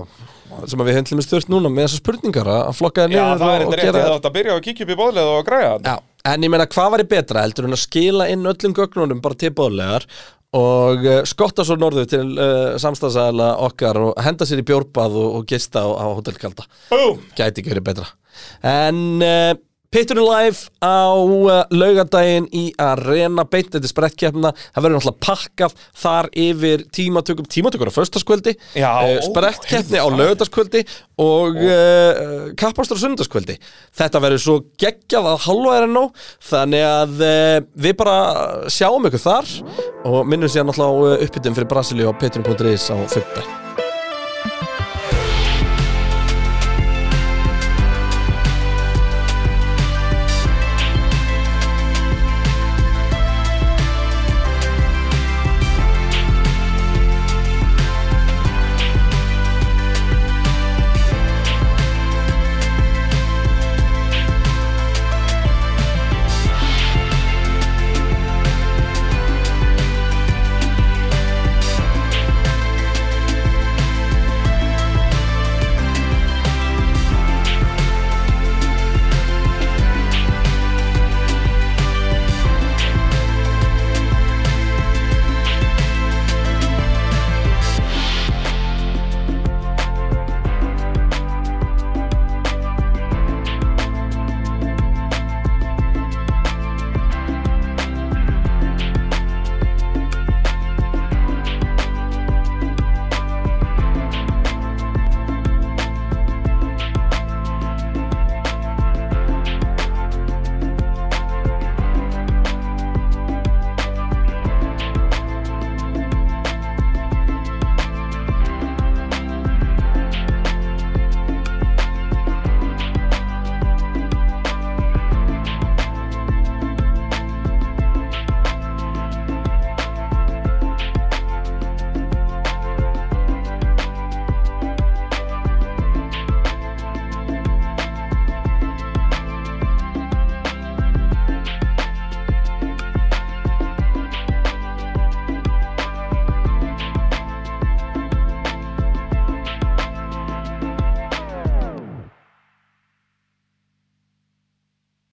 sem að við höndlum við stört núna með þessar spurningar að að flokka þér Já, niður og, það er eitthvað og rétt, gera ég þátt að byrja á að kíkja upp í bóðleið og að græja hann Já, en ég meina hvað var ég betra heldur en að skila inn öllum gögnunum bara tilbúðlegar og uh, skotta svo norðu til uh, samstagsæðala okkar og henda sér í bjórbað og, og gista á, á hotelkalda Búm! Gæti ekki verið betra En uh, Pitturinn live á uh, laugardaginn í Arena beint Þetta er sprettkeppna, það verður náttúrulega pakkað þar yför tímatökum Tímatökur á föstaskvöldi Já, ó, Sprettkeppni á heyrðu það. laugardagskvöldi og uh, kappastur á sundarskvöldi Þetta verður svo geggjað að halva er ennó Þannig að uh, við bara eh, sjáum ykkur þar og minnum sér náttúrulega á uppbytum fyrir Brasilíu á pitturinn.is á 15